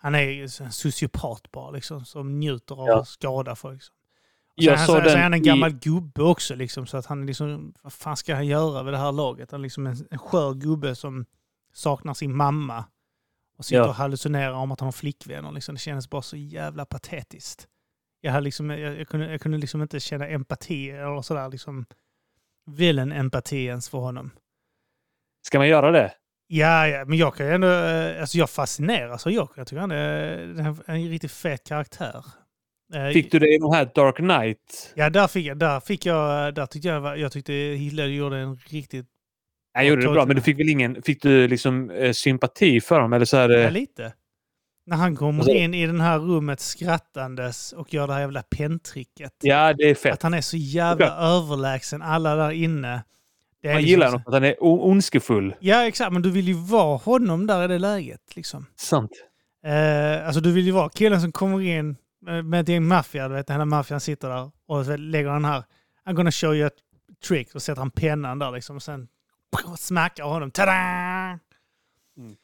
S1: han är ju en sociopat bara liksom, som njuter av
S2: Ja.
S1: att skada folk. Och sen
S2: Jag
S1: han-
S2: såg
S1: sen,
S2: den
S1: sen är han en
S2: i-
S1: gammal gubbe också, liksom, så att han är liksom, vad fan ska han göra vid det här laget? Han är liksom en, en skör gubbe som saknar sin mamma och sitter
S2: Ja.
S1: och hallucinerar om att han har flickvänner. Liksom. Det kändes bara så jävla patetiskt. Jag, hade liksom, jag, jag, kunde, jag kunde liksom inte känna empati eller sådär, liksom, villen empati ens för honom.
S2: Ska man göra det?
S1: Ja, ja, men jag kan ju ändå... eh, Alltså jag fascineras av Joker. Jag tycker han är en, en riktigt fet karaktär. Eh,
S2: Fick du det i de här Dark Knight?
S1: Ja, där fick jag... Där, fick jag, där tyckte jag, var- jag tyckte Hitler gjorde en riktigt...
S2: Jag gjorde det
S1: Dark
S2: bra, men du
S1: Knight.
S2: fick väl ingen... Fick du liksom eh, sympati för dem? Eller så här, eh,
S1: Ja, lite. När han kommer
S2: Alltså-
S1: in i det här rummet skrattandes och gör det här jävla penntricket.
S2: ja, det är fett.
S1: Att han är så jävla överlägsen alla där inne. Det är
S2: Man
S1: liksom
S2: gillar
S1: så-
S2: honom för att han är o- ondskefull.
S1: Ja, exakt. Men du vill ju vara honom där i det läget. Liksom.
S2: Sant.
S1: Eh, alltså du vill ju vara killen som kommer in eh, med ett gäng maffia, du vet, hela maffian sitter där och så lägger han här, I'm gonna show you a trick, och sätter han pennan där liksom och sen smackar honom, tada!
S2: Mm.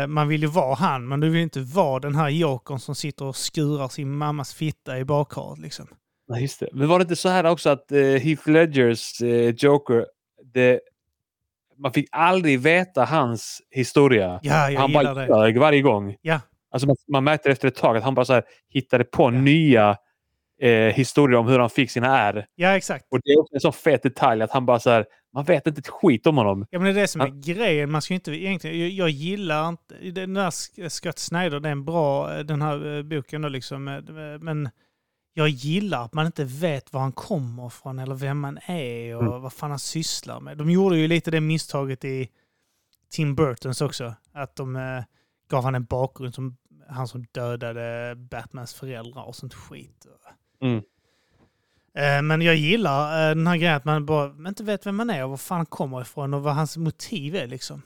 S1: Eh, man vill ju vara han, men du vill inte vara den här jokern som sitter och skurar sin mammas fitta i bakhavet liksom.
S2: Nej, just det. Men var det inte så här också att eh, Heath Ledgers eh, Joker, det, man fick aldrig veta hans historia.
S1: Ja, jag
S2: han
S1: gillar
S2: bara
S1: det.
S2: ljög varje gång.
S1: Ja.
S2: Alltså man, man märkte efter ett tag att han bara så här, hittade på nya eh, historier om hur han fick sina är.
S1: Ja, exakt.
S2: Och det är också en sån fet detalj att han bara så här, man vet inte ett skit om honom.
S1: Ja, men det är det som är
S2: Ja.
S1: grejen. Man ska ju inte egentligen... Jag, jag gillar inte... Den där Sk- Scott Snyder, det är en bra... eh, Den här eh, boken då liksom. eh, eh, Men jag gillar att man inte vet var han kommer från eller vem man är och vad fan han sysslar med. De gjorde ju lite det misstaget i Tim Burtons också. Att de eh, gav han en bakgrund som han som dödade Batmans föräldrar och sånt skit.
S2: Mm.
S1: Eh, Men jag gillar eh, den här grejen att man bara man inte vet vem man är och var fan han kommer ifrån och vad hans motiv är liksom.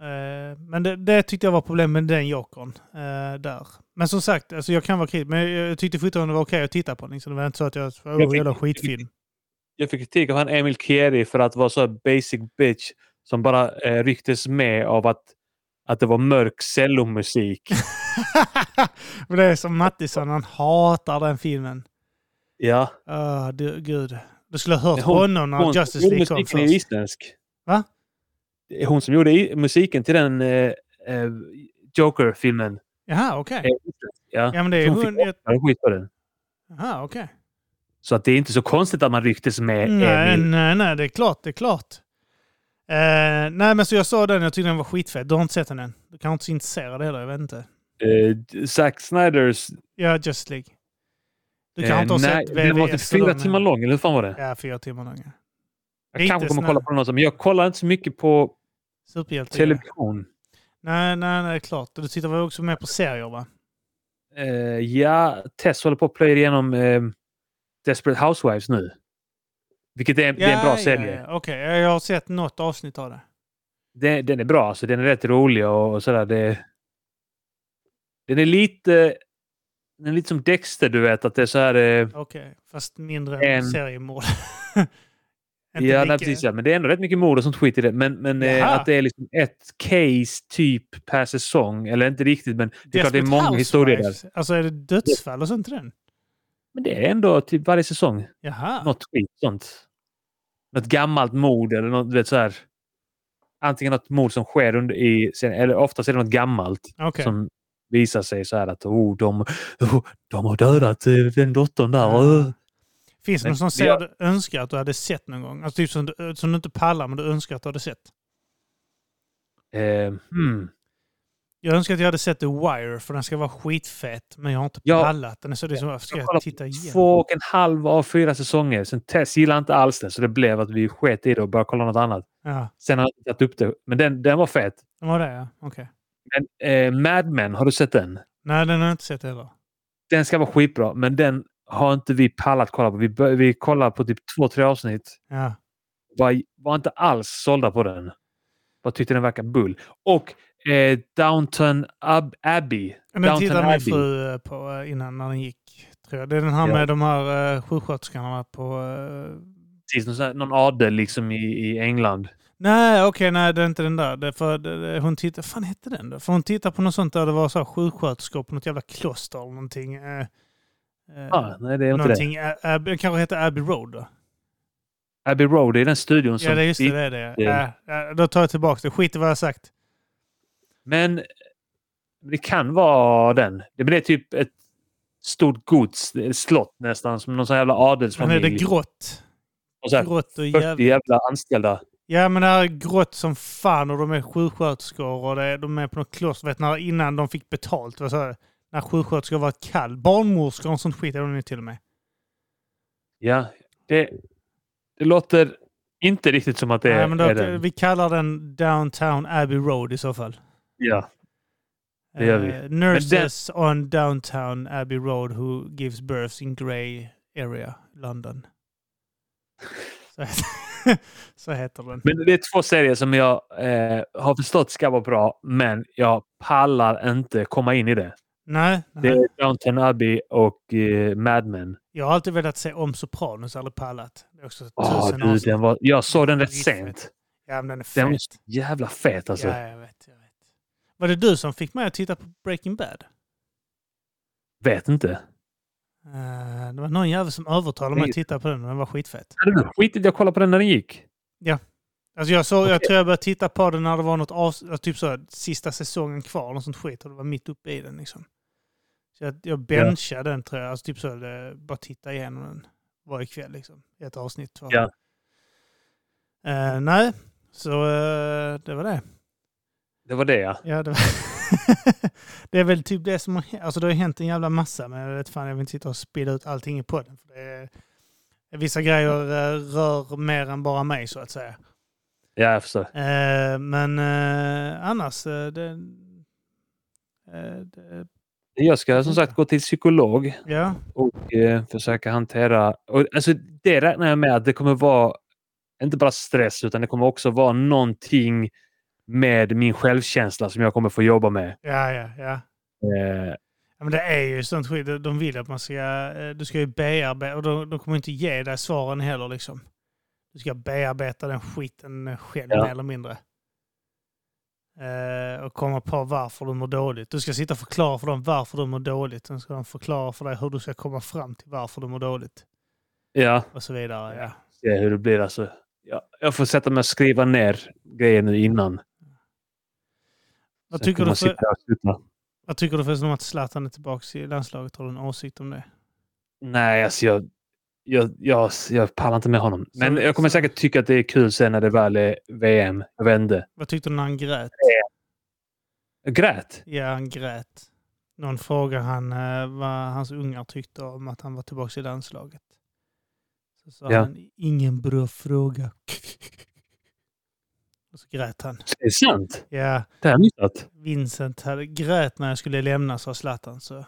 S1: Eh, Men det, det tyckte jag var problem med den jokern eh, där. Men som sagt, alltså jag kan vara kritisk, men jag, jag tyckte fortfarande det var okej att titta på den. Så det var inte så att jag, oh,
S2: tyckte-
S1: jävla skitfilm.
S2: Jag fick kritik av han Emil Kieri för att vara så här basic bitch som bara eh, rycktes med av att, att det var mörk cellomusik.
S1: Men det är som Mattisson, han hatar den filmen.
S2: Ja.
S1: Ah, du, gud. Du skulle ha hört
S2: Hon-
S1: honom när
S2: Hon
S1: Justice
S2: som gjorde
S1: League kom
S2: musiken är
S1: först.
S2: isländsk.
S1: Va?
S2: Det är Hon som gjorde i- musiken till den eh, eh, Joker-filmen.
S1: Jaha, okej.
S2: är isländsk. Ja.
S1: Ja, men det är
S2: Hon fick
S1: hon... jag-
S2: Ja, skit på den.
S1: Jaha, okej. Mm,
S2: Så att det är inte så konstigt att man ryktes med
S1: Nej,
S2: Emil.
S1: nej, nej, det är klart, det är klart. Eh, nej, men så jag sa den, jag tyckte den var skitfett. Du har inte sett den än? Du kanske inte är så intresserad heller, jag vet inte.
S2: Eh, Zack Snyders...
S1: Ja, Just League. Du
S2: eh,
S1: kanske inte har
S2: nej,
S1: sett
S2: den var typ
S1: VVS
S2: fyra
S1: då, men-
S2: timmar lång, eller hur fan var det?
S1: Ja, fyra timmar lång. ja.
S2: Jag kanske
S1: lite
S2: kommer
S1: snäll.
S2: kolla på den också, men jag kollar inte så mycket på
S1: Superhjälte. ja.
S2: television.
S1: Nej, nej, nej, det är klart. Du tittar väl också mer på serier, va?
S2: Eh, ja, Tess håller på att plöja igenom eh, Desperate Housewives nu. Vilket är, det är en bra säljare.
S1: ja. Okej, ja, jag har sett något avsnitt av det.
S2: Den, den är bra, alltså. Den är rätt rolig och, och sådär. Det, den är lite... Den är lite som Dexter, du vet. Att det är så här... Eh,
S1: Okej, fast mindre
S2: En-
S1: en... seriemord. Inte
S2: ja,
S1: lika-
S2: nej, precis. Ja. Men det är ändå rätt mycket mord och sånt skit i det. Men, men eh,
S1: Jaha.
S2: att det är liksom ett case typ per säsong. Eller inte riktigt, men det är klart det är
S1: Desperate
S2: många historier där.
S1: Housewives. Alltså är det dödsfall och sånt i den?
S2: Men det är ändå typ varje säsong.
S1: Jaha.
S2: Något skit sånt. Något gammalt mord eller något, du vet så här. Antingen något mord som sker under i... sen- Eller oftast är det något gammalt.
S1: Okej.
S2: som visar sig så här att oh, de, oh, de har dödat eh, den dottern där.
S1: Ja.
S2: eh."
S1: Finns det
S2: Men
S1: någon som
S2: det
S1: säger
S2: gör-
S1: att du önskar att du hade sett någon gång? Alltså typ som du, som du inte pallar men du önskar att du hade sett.
S2: Eh,
S1: Mm.
S2: hmm.
S1: Jag önskar att jag hade sett The Wire för den ska vara skitfett men jag har inte
S2: Ja.
S1: pallat den. är Så det är som, varför ska
S2: Jag
S1: jag
S2: kollar
S1: titta igen?
S2: Två och en halv av fyra säsonger. Sen Tess gillade inte alls det, så det blev att vi sket i det och började kolla något annat.
S1: Ja,
S2: Sen har jag inte tagit upp det, men den, den var fet.
S1: det var det ja. Okej.
S2: Men, eh, Mad Men, har du sett den?
S1: Nej, den har jag inte sett heller.
S2: Den ska vara skitbra, men den har inte vi pallat kolla på. Vi, bör, vi kollade på typ två, tre avsnitt.
S1: Ja.
S2: Var, var inte alls sålda på den. Bara tyckte den verkar bull. Och eh, Downton Ab- Abbey.
S1: Den
S2: Downton
S1: tittade min
S2: Abbey.
S1: fru eh, på eh, innan när den gick. Tror jag. Det är den här
S2: Ja.
S1: med de här uh, sjuksköterskorna på... eh,
S2: precis någon, sån här, någon adel liksom i, i England.
S1: Nej, okej, nej, det är inte den där. Det är för, det, det, hon tittar, fan hette den då? För hon tittar på något sånt där det var så här sjuksköterskor på något jävla kloster eller någonting. Eh, eh,
S2: Ah, nej, det är inte det.
S1: någonting Ä- Ab- det kanske heter Abbey Road då?
S2: Abbey Road, det är den studion som...
S1: Ja, det är just det. det, är det.
S2: Ja.
S1: Ja, ja, då tar jag tillbaka det. Skit i vad jag har sagt.
S2: Men det kan vara den. Det men det är typ ett stort gods, det är ett slott nästan, som någon sån här jävla
S1: Men är det
S2: adelsfamilj.
S1: grått?
S2: Och så här,
S1: Grått och
S2: 40
S1: jävligt.
S2: jävla anställda.
S1: Ja, men det här är grått som fan och de är sjuksköterskor och det, är- de är på något kloster. Vet, när, innan de fick betalt. Vad sa jag? När sjuksköterskor var kall. Barnmorskor och sånt skit är de ju till och med.
S2: Ja, det, det låter inte riktigt som att det
S1: Nej, men då, eh,
S2: är den.
S1: vi kallar den Downtown Abbey Road i så fall.
S2: Ja. Det gör vi.
S1: Eh, nurses on Downtown Abbey Road who gives birth in grey area, London. Så, het- så heter den.
S2: Men det är två serier som jag eh, har förstått ska vara bra, men jag pallar inte komma in i det.
S1: Nej,
S2: Det
S1: nej.
S2: är Downton Abbey och eh, Mad Men. jag
S1: jag har alltid velat se om Sopranos, aldrig pallat. Det är också
S2: Ah, du,
S1: tusen år sedan.
S2: den var, jag såg den rätt
S1: Riktigt.
S2: sent.
S1: Ja, men den är
S2: Den var
S1: fet.
S2: jävla fet alltså.
S1: Ja, jag vet, jag vet. Var det du som fick mig att titta på Breaking Bad?
S2: Vet inte.
S1: Eh, det var någon jävel som övertalade mig att titta på den. Den var skitfett.
S2: Hade du skitit jag kollade på den när den gick?
S1: Alltså jag, såg, jag
S2: Okej.
S1: tror jag började titta på den när det var något av, typ så här, sista säsongen kvar, något sånt skit, och det var mitt uppe i den. Liksom. Så jag, jag benchade den tror jag, alltså typ så, här, eh, bara titta igenom den varje kväll, liksom. ett avsnitt. Var.
S2: Ja.
S1: Eh, nej, så eh, det var det.
S2: Det var det ja.
S1: Ja, det, var det är väl typ det som har hänt. Alltså det har hänt en jävla massa, men jag vet fan, jag vill inte sitta och spilla ut allting i podden. För det är, vissa grejer eh, rör mer än bara mig, så att säga.
S2: Ja, jag förstår.
S1: Eh, men eh, annars, eh, det, eh, det,
S2: Jag ska som sagt gå till psykolog
S1: ja.
S2: och eh, försöka hantera... Och, alltså, det räknar jag med att det kommer vara inte bara stress utan det kommer också vara någonting med min självkänsla som jag kommer få jobba med.
S1: ja, ja, ja.
S2: Eh,
S1: Ja, Men det är ju sånt skit. De- De vill att man ska... eh, Du ska ju bearbeta... Och de, de kommer inte ge dig svaren heller liksom. Du ska bearbeta den skiten själv
S2: Ja.
S1: mer eller mindre. eh, och komma på varför du mår dåligt. Du ska sitta och förklara för dem varför du mår dåligt. Sen ska de förklara för dig hur du ska komma fram till varför du mår dåligt.
S2: Ja,
S1: Och så vidare. Ja.
S2: se hur det blir alltså. Ja, jag får sätta mig och skriva ner grejer nu innan.
S1: Vad,
S2: Sen
S1: tycker
S2: kan
S1: du
S2: man
S1: för,
S2: sitta och sluta.
S1: vad tycker du förresten om att Zlatan är tillbaka i landslaget? Har du en åsikt om det?
S2: Nej, alltså jag, jag, jag, jag pallar inte med honom. Men
S1: Så-
S2: jag kommer
S1: så-
S2: säkert tycka att det är kul sen när det väl är VM. Jag vet inte.
S1: Vad tyckte du när han grät?
S2: Jag grät.
S1: Ja, han grät. Någon frågade han eh, vad hans ungar tyckte om att han var tillbaka i landslaget. Så sa
S2: Ja.
S1: han, ingen bra fråga. Och så grät han.
S2: Det är sant.
S1: Ja,
S2: Det har jag missat.
S1: Vincent hade grät när jag skulle lämna, sa Zlatan. Så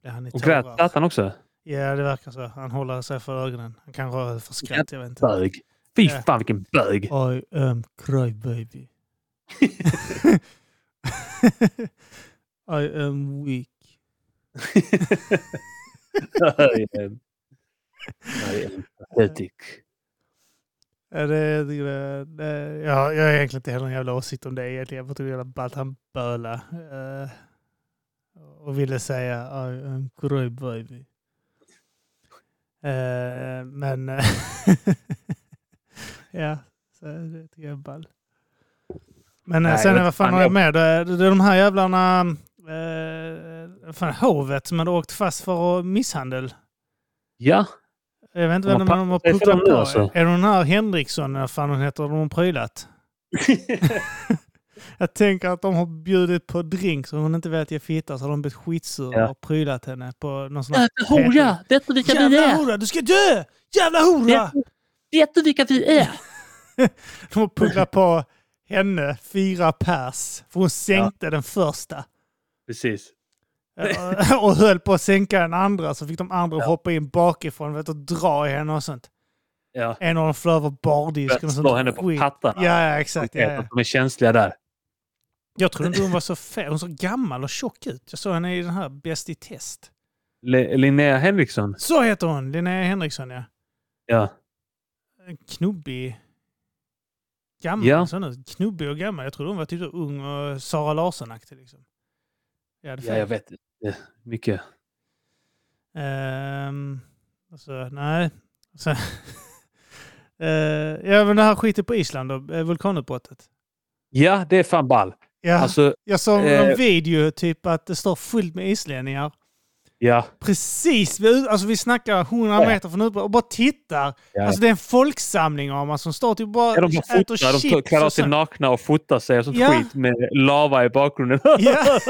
S1: blev han i
S2: Och
S1: tårar.
S2: grät Zlatan också.
S1: Ja, det verkar så. Han håller sig för ögonen. Han kanske har för skratt, jag vet inte.
S2: Bög. Fy
S1: Ja.
S2: fan vilken bög.
S1: I am cry baby. I am weak.
S2: Jag är- jag är en pathetic.
S1: Ja, det, det, det, jag, jag har egentligen inte heller någon jävla åsikt om det egentligen. Jag typ bara tyckte det var ballt. Han böla eh, och ville säga I am grey baby. Eh, men eh, ja, så det tycker jag är ball. Men eh,
S2: Nej,
S1: sen
S2: jag-
S1: vad fan
S2: fan,
S1: har jag
S2: jag-
S1: med? Det är, det är de här jävlarna, eh, fan, hovet som hade åkt fast för misshandel.
S2: Ja,
S1: Jag vet inte
S2: De
S1: vem
S2: har
S1: de har
S2: sig för
S1: pucklat
S2: dem nu
S1: på.
S2: alltså.
S1: Är det den här Henriksson, eller vad fan hon heter, de har prylat? Jag tänker att de har bjudit på drink så hon inte vet ge fitta så har de blivit skitsura
S2: Ja.
S1: och prylat henne på någon sån här...
S3: Jävla hora! Vet du vilka vi
S1: Jävla
S3: är?
S1: hora! Du ska dö! Jävla hora!
S3: Vet, vet du vilka vi är?
S1: De har pucklat på henne fyra pers för hon sänkte den första.
S2: precis.
S1: Ja, Och höll på att sänka den andra så fick de andra hoppa in bakifrån vet, du, och dra i henne och sånt.
S2: Ja.
S1: En av dem flög över bardisken och
S2: Börjat
S1: sånt.
S2: slå henne på
S1: skit.
S2: pattarna.
S1: Ja, ja, exakt. Ja, ja.
S2: Att de är känsliga där.
S1: Jag trodde inte hon var så fet. Hon såg gammal och tjock ut. Jag såg henne i den här Bäst i test.
S2: Le- Linnea Henriksson.
S1: Så heter hon, Linnea Henriksson ja.
S2: Ja.
S1: En Knubbig. Gammal
S2: Ja.
S1: sån ut. Knubbig och gammal. Jag trodde hon var typ så ung och Sara Larsson-aktig. Liksom. Jag hade
S2: ja,
S1: fel.
S2: jag vet. Eh, Mycket.
S1: Ehm, alltså, nej. Så, Eh, ja, men det här skiten på Island då, eh, vulkanutbrottet.
S2: Ja, det är fan ball.
S1: Ja,
S2: Alltså,
S1: jag såg en
S2: eh.
S1: video typ att det står fullt med islänningar
S2: ja.
S1: precis vid, alltså vi snackar 100
S2: Ja.
S1: meter från utbrottet och bara tittar.
S2: Ja.
S1: Alltså det är en folksamling av man som står typ bara
S2: Ja, de bara
S1: äter
S2: fotar. De tar-
S1: chips
S2: klär av
S1: och
S2: sig
S1: sånt.
S2: nakna och fotar sig och sånt
S1: Ja.
S2: skit med lava i bakgrunden.
S1: Ja.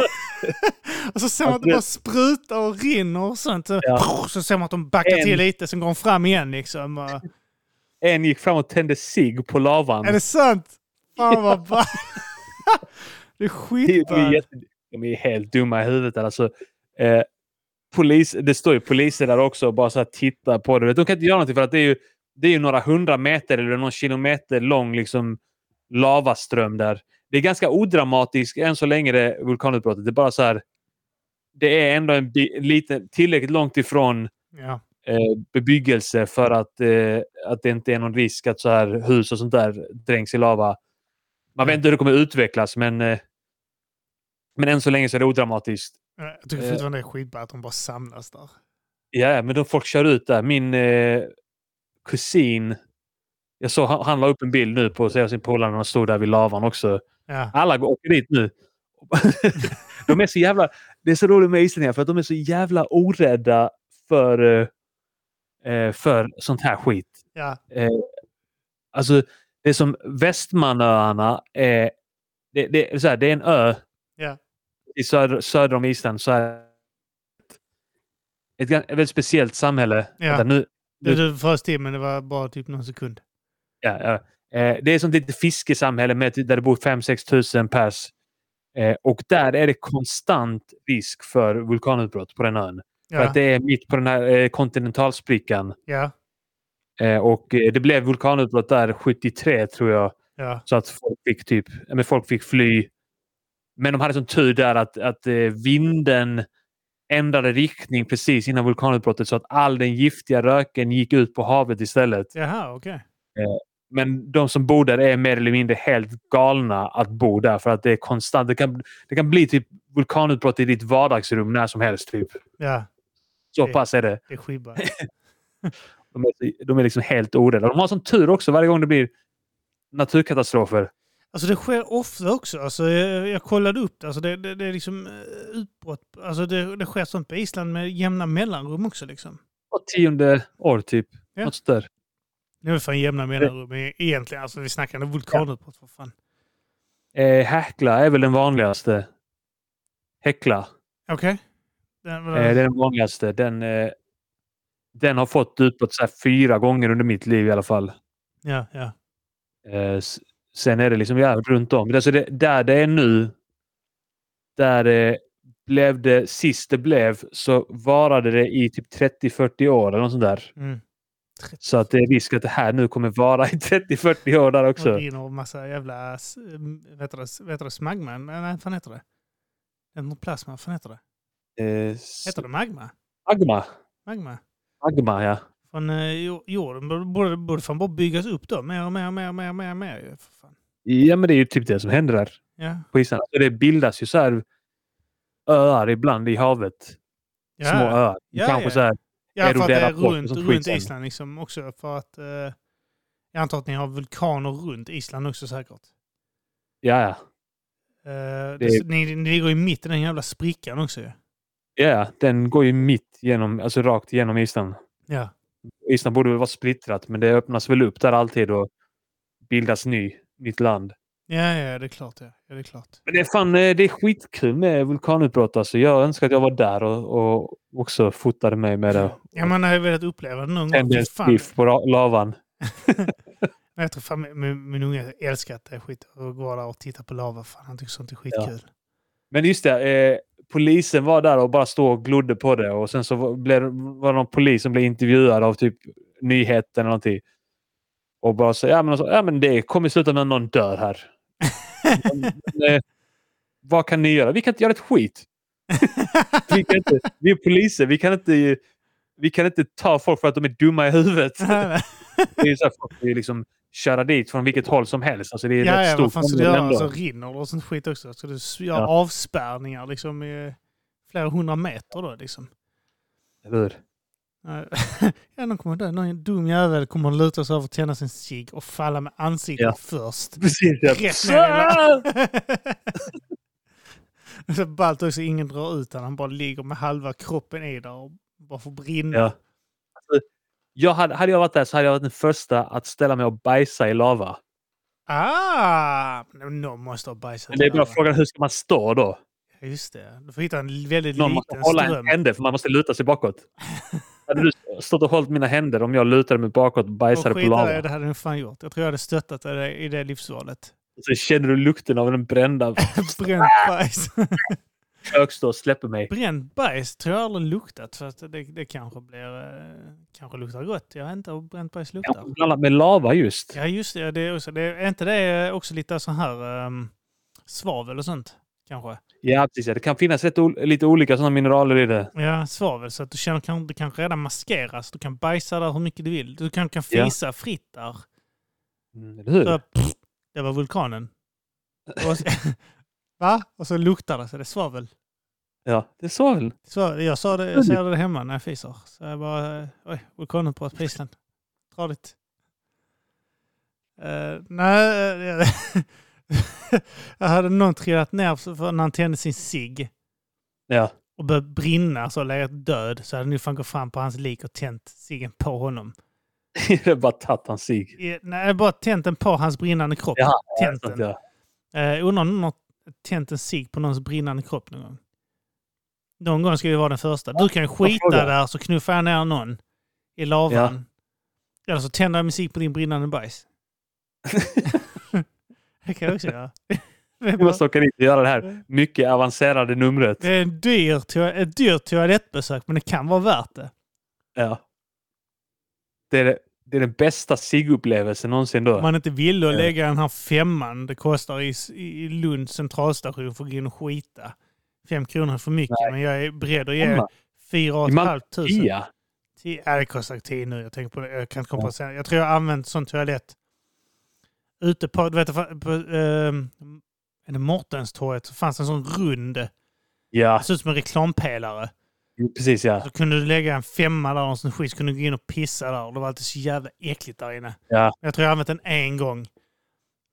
S1: och så ser man att det
S2: Alltså-
S1: bara sprutar och rinner och sånt. Så,
S2: Ja.
S1: så ser man att de backar
S2: En-
S1: till lite, sen går de fram igen liksom. Och-
S2: en gick fram och tände sig på lavan.
S1: Är det sant? Fan vad bra. Det är
S2: Det är- det är
S1: skitballt.
S2: jätte... De är helt dumma i huvudet. Alltså, eh, polis... Det står ju poliser där också och bara så här tittar på det. De kan inte göra någonting för att det är ju, det är ju några hundra meter eller någon kilometer lång liksom, lavaström där. Det är ganska odramatiskt än så länge det vulkanutbrottet. Det är bara så här... Det är ändå en bi- lite, tillräckligt långt ifrån
S1: Ja.
S2: eh, bebyggelse för att, eh, att det inte är någon risk att så här hus och sånt där dränks i lava. Man vet inte hur det kommer utvecklas, men, eh, men än så länge så är det odramatiskt.
S1: Jag tycker
S2: Eh.
S1: fortfarande det är skitballt att de bara samlas där.
S2: Ja, men då folk kör ut där. Min eh, kusin, jag såg, han, han la upp en bild nu på sig och sin polare när han stod där vid lavan också.
S1: Ja.
S2: Alla går åker dit nu. de är så jävla... Det är så roligt med islänningar för att de är så jävla orädda för, eh, eh, för sånt här skit.
S1: Ja.
S2: Eh, Alltså, det är som Västmanöarna är... Det, det, är så här, det är en ö
S1: Ja.
S2: i söder, söder om Island. Så här, ett, gan- ett väldigt speciellt samhälle.
S1: Ja.
S2: Vänta, nu,
S1: Det du först till, men det var bara typ någon sekund.
S2: ja, ja. Eh, det är som ett litet fiskesamhälle med, typ där det bor 5-6 tusen pers. Eh, och där är det konstant risk för vulkanutbrott på den ön. För
S1: Ja.
S2: att det är mitt på den här eh, kontinentalsprickan.
S1: Ja.
S2: Eh, och eh, det blev vulkanutbrott där 73 tror jag.
S1: Ja.
S2: Så att folk fick, typ, ja, men folk fick fly. Men de hade sån tur där att, att eh, vinden ändrade riktning precis innan vulkanutbrottet så att all den giftiga röken gick ut på havet istället.
S1: Jaha, okej.
S2: Men de som bor där är mer eller mindre helt galna att bo där för att det är konstant. Det kan, det kan bli typ vulkanutbrott i ditt vardagsrum när som helst. Typ.
S1: Ja,
S2: Så
S1: Det-
S2: pass är det.
S1: det är skibbar.
S2: De är, de är liksom helt orädda. De har sån tur också varje gång det blir naturkatastrofer.
S1: Alltså det sker ofta också. Alltså jag, jag kollade upp det. Alltså det, det, det är liksom eh, utbrott. Alltså det, det sker sånt på Island med jämna mellanrum också liksom.
S2: Och tionde år typ.
S1: Ja.
S2: Något sånt där.
S1: Nu är det fan jämna mellanrum e- egentligen. Alltså vi snackar om vulkanutbrott för fan.
S2: Eh, häckla är väl den vanligaste. Häckla.
S1: Okej. Den-
S2: Eh, det är den vanligaste. Den, eh, den har fått utbrott så här fyra gånger under mitt liv i alla fall.
S1: Ja, ja.
S2: Eh, s- sen är det liksom ja, runt om. Alltså det, där det är nu, där det blev det sist det blev, så varade det i typ 30-40 år eller något sånt där.
S1: Mm.
S2: Så att det är risk att det här nu kommer vara i 30-40 år där
S1: Och
S2: också.
S1: det innehåller massa jävla... s- m- Vet du det? Vet du det? Smagma? Nej, vad fan heter det? Inte plasma. Vad fan heter det?
S2: Eh, s-
S1: Heter det magma?
S2: Magma.
S1: Magma?
S2: Magma, ja.
S1: Från eh, jo- jorden borde- borde, borde fan bara byggas upp då. Mer och mer och mer och mer och mer. Och mer. ju, För fan.
S2: Ja, men det är ju typ det som händer där.
S1: Ja.
S2: på isarna. Så det bildas ju så här öar ibland i havet.
S1: Ja.
S2: Små öar.
S1: Ja,
S2: Kanske
S1: ja.
S2: så här.
S1: Ja, för att det
S2: erodera
S1: är
S2: bort och
S1: runt,
S2: sånt
S1: runt
S2: skit sen.
S1: Island liksom också. För att eh, jag antar att ni har vulkaner runt Island också säkert.
S2: Ja, ja.
S1: Eh, det, ni, ni ligger ju mitt i den jävla sprickan också ju.
S2: Ja, ja. Den går ju mitt genom, alltså rakt igenom Island.
S1: Ja.
S2: Island borde väl vara splittrat, men det öppnas väl upp där alltid och bildas ny, nytt land.
S1: Ja, ja, det är klart. Ja. Ja, det är klart.
S2: Men det är fan, eh, det är skitkul med vulkanutbrott alltså. Jag önskar att jag var där och, och också fotade mig med det.
S1: Ja, man har ju velat uppleva det någon gång.
S2: Tände
S1: Fy
S2: en
S1: Fan.
S2: skiff på ra- lavan.
S1: Men Jag tror fan min- min, min unge älskar att det är skit och gå där och titta på lava. Fan, han tycker sånt är skitkul.
S2: Men just det, eh, polisen var där och bara stod och glodde på det och sen så var- blev, var det någon polis som blev intervjuad av typ nyheten eller någonting. Och bara sa, ja men, alltså, ja, men det kommer sluta med att någon dör här. Men, eh, vad kan ni göra? Vi kan inte göra ett skit. Vi, kan inte, vi är poliser, vi kan inte, vi kan inte ta folk för att de är dumma i huvudet. Det är ju så här, folk vill liksom köra dit från vilket håll som helst. Alltså, det är
S1: ja,
S2: rätt
S1: ja,
S2: stort
S1: vad fan ska du
S2: område
S1: göra?
S2: ändå.
S1: Alltså, rinner det och sånt skit också? Ska du s- göra
S2: Ja.
S1: avspärrningar liksom i flera hundra meter då liksom?
S2: Eller hur?
S1: Nej. Ja, någon kommer dö. Någon dum jävel kommer att luta sig över, tända sin cigg och falla med ansiktet
S2: Ja.
S1: först.
S2: Precis, ja.
S1: Rätt ner i la- Det är Så ballt också, ingen drar ut han. Han bara ligger med halva kroppen i där och bara får brinna.
S2: Ja. Alltså, jag hade, hade jag varit där så hade jag varit den första att ställa mig och bajsa i lava.
S1: Ah! men Någon måste ha bajsat.
S2: Men det är
S1: där,
S2: bara
S1: va?
S2: frågan hur ska man stå då?
S1: Ja, Just det. Du får hitta en väldigt
S2: Någon måste
S1: liten
S2: hålla
S1: ström.
S2: en hände för man måste luta sig bakåt. hade du stått och hållit mina händer om jag lutade mig bakåt och bajsade
S1: Och
S2: på
S1: skit
S2: lava?
S1: där, det hade du fan gjort. Jag tror jag hade stöttat dig i det livsvalet.
S2: Och så känner du lukten av den brända
S1: Bränt bajs.
S2: köksdörr och släpper mig.
S1: Bränt bajs tror jag aldrig luktat. För att det, det kanske blir... eh, Kanske luktar gott. Jag vet inte hur bränt bajs luktar.
S2: Kanske Blandat med lava just.
S1: Ja, just det. det, är också, det är inte det eh, också lite så här ehm, svavel och sånt? Kanske.
S2: Ja, precis. ja. Det kan finnas rätt ol- lite olika sådana mineraler i det.
S1: Ja, svavel. Så att du känner kan, du kanske redan maskeras. Du kan bajsa där hur mycket du vill. Du kan, kan
S2: Ja.
S1: fisa fritt där.
S2: Mm, eller hur?
S1: Så, pff, det var vulkanen. Och, så- va? Och så luktar det så det är svavel.
S2: Ja, det sa väl.
S1: svavel. Jag sa
S2: Mm.
S1: det, jag säger det hemma när jag fiser. Så jag bara, eh, oj, vulkanutbrott på Island. Tradigt. Eh, nej, eh, jag hade någon trillat ner så- för när han tände sin cigg
S2: Ja.
S1: och började brinna så legat död så hade ni fan gått fram på hans lik och tänt ciggen på honom.
S2: det är bara tagit hans sig.
S1: Eh, Nej, bara tänt den på hans brinnande kropp.
S2: Ja,
S1: tänt den.
S2: Ja.
S1: Eh, undrar om någon har tänt en cigg på någons brinnande kropp någon gång. Någon gång ska vi vara den första. Du kan ju skita
S2: fråga.
S1: där så knuffar jag ner någon i lavan. Eller så tänder jag musik på din brinnande bajs. det kan jag också göra. Det är
S2: Vi
S1: bara-
S2: måste åka dit och göra det här mycket avancerade numret.
S1: det är en dyr, toa- ett dyrt toalettbesök men det kan vara värt det.
S2: Ja. Det är, det, det är den bästa SIG-upplevelsen någonsin då.
S1: Om man inte ville att lägga den här femman det kostar i, i Lunds centralstation för att gå in och skita. Fem kronor är för mycket men jag är beredd att ge
S2: Femma?
S1: fyra och
S2: I
S1: ett
S2: Malmö?
S1: halvt tusen.
S2: Tia.
S1: äh, Tio, ja, det kostar 10 nu. Jag tänker på det. Jag kan inte kompensera. Jag tror jag har använt sån toalett ute på, du vet, på eh, är det Mortenstorget så fanns en sån rund, det
S2: Ja,
S1: såg ut som en reklampelare.
S2: precis ja.
S1: Så kunde du lägga en femma där och sån skit, så kunde du gå in och pissa där. Och det var alltid så jävla äckligt där inne.
S2: Ja.
S1: Jag tror jag har använt den en gång.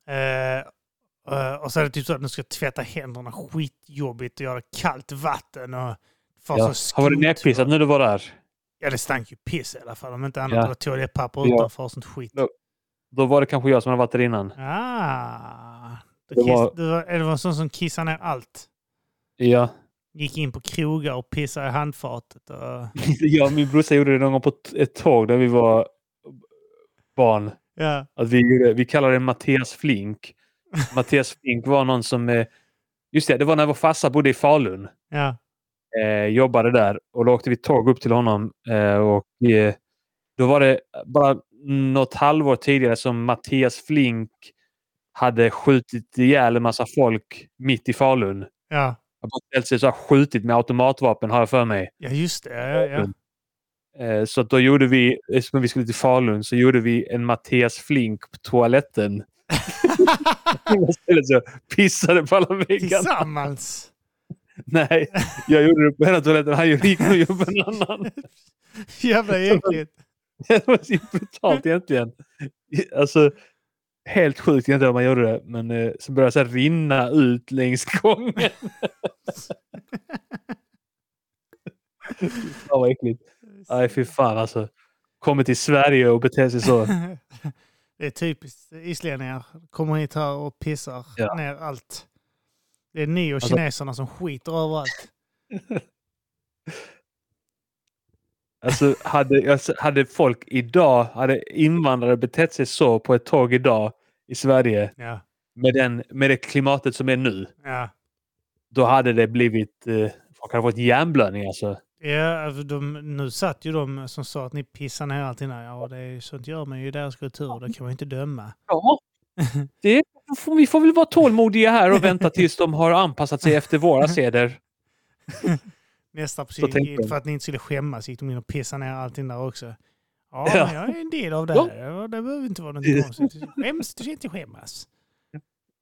S1: Eh, eh, och så är det typ så att nu ska jag tvätta händerna skitjobbigt och göra kallt vatten och få
S2: ja.
S1: så
S2: Har varit
S1: skrot-
S2: nerpissat nu du var där?
S1: Ja, det stank ju piss i alla fall. Om inte annat
S2: Ja.
S1: var det toalettpapper
S2: Ja.
S1: utanför och sånt skit.
S2: Ja. Då var det kanske jag som hade varit där innan.
S1: Ah, det,
S2: Det
S1: kiss, var...
S2: var-
S1: Det, var, det var en sån som kissade ner allt.
S2: Ja.
S1: Gick in på krogar och pissade i handfatet. Och...
S2: Jag och min brorsa gjorde det någon gång på t- ett tåg när vi var barn.
S1: Ja.
S2: Att vi, gjorde, vi kallade det Mattias Flink. Mattias Flink var någon som... eh, Just det, det var när vår farsa bodde i Falun.
S1: Ja.
S2: eh, jobbade där och då åkte vi tåg upp till honom. Eh, och eh, Då var det bara något halvår tidigare som Mattias Flink hade skjutit ihjäl en massa folk mitt i Falun.
S1: Ja.
S2: Han bara ställt sig så här, skjutit med automatvapen har jag för mig.
S1: ja, just det. Ja, ja, ja.
S2: Eh, så att då gjorde vi, eftersom vi skulle till Falun, så gjorde vi en Mattias Flink på toaletten. Istället så pissade på alla väggarna.
S1: Tillsammans.
S2: Nej, jag gjorde det på ena toaletten. Han gick och gjorde på en annan.
S1: Jävla äckligt.
S2: Det var så brutalt egentligen. Alltså, helt sjukt egentligen hur man gjorde det. Men eh, så började det så här rinna ut längs gången. Fy fan vad äckligt. Nej, fy fan alltså. Kommer till Sverige och beter sig så.
S1: Det är typiskt islänningar. Kommer hit här och pissar
S2: Ja.
S1: ner allt. Det är ni och
S2: Alltså-
S1: kineserna som skiter överallt.
S2: Alltså, hade, alltså, hade folk idag, hade invandrare betett sig så på ett tåg idag i Sverige
S1: Ja.
S2: med, den, med det klimatet som är nu,
S1: Ja.
S2: då hade det blivit... Eh, folk hade fått hjärnblödning alltså.
S1: Ja, alltså de, nu satt ju de som sa att ni pissar ner allt innan. Ja, och det är, sånt gör man ju i deras kultur. Det kan man ju inte döma.
S2: Ja, det, vi får väl vara tålmodiga här och vänta tills de har anpassat sig efter våra seder.
S1: Nästa
S2: tänkte
S1: psykologi,
S2: de.
S1: för att ni inte skulle skämmas, gick de in och pissade ner allt innan också. Ja,
S2: Ja.
S1: men jag är en del av det
S2: Ja.
S1: här. Ja. Det behöver inte vara något konstigt. Skäms, du ska inte skämmas.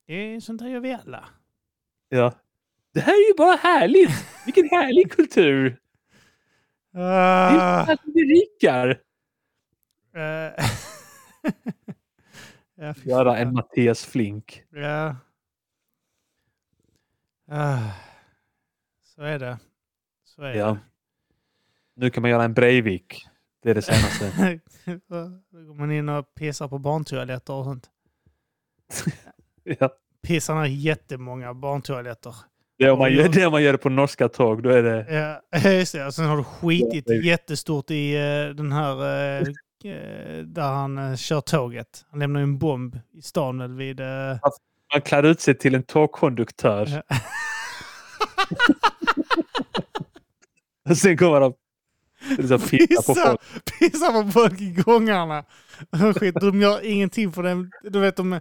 S1: Det är sånt här gör vi alla.
S2: Ja. Det här är ju bara härligt! Vilken härlig kultur! Det är
S1: Ah,
S2: så här vi rikar!
S1: eh. ja, fy
S2: Göra
S1: fan.
S2: en Mattias Flink.
S1: Ja. Ah. Så är det. Så är
S2: Ja.
S1: det.
S2: Nu kan man göra en Breivik. Det är det senaste.
S1: Då går man in och pissar på barntoaletter och sånt.
S2: Ja.
S1: Pissar ner jättemånga barntoaletter.
S2: Det, är om man gör, det är om man gör det på norska tåg. Då är det...
S1: Ja, Eh, just det. Och sen har du skitit
S2: Ja, det är-
S1: jättestort i eh, den här eh, eh, där han eh, kör tåget. Han lämnar ju en bomb i stan väl vid... eh,
S2: Man klär ut sig till en tågkonduktör.
S1: Ja.
S2: Och sen kommer de... Liksom, pissa på folk.
S1: pissar, pissar på folk i gångarna. Och Skit, de gör ingenting för dem. Du vet, de,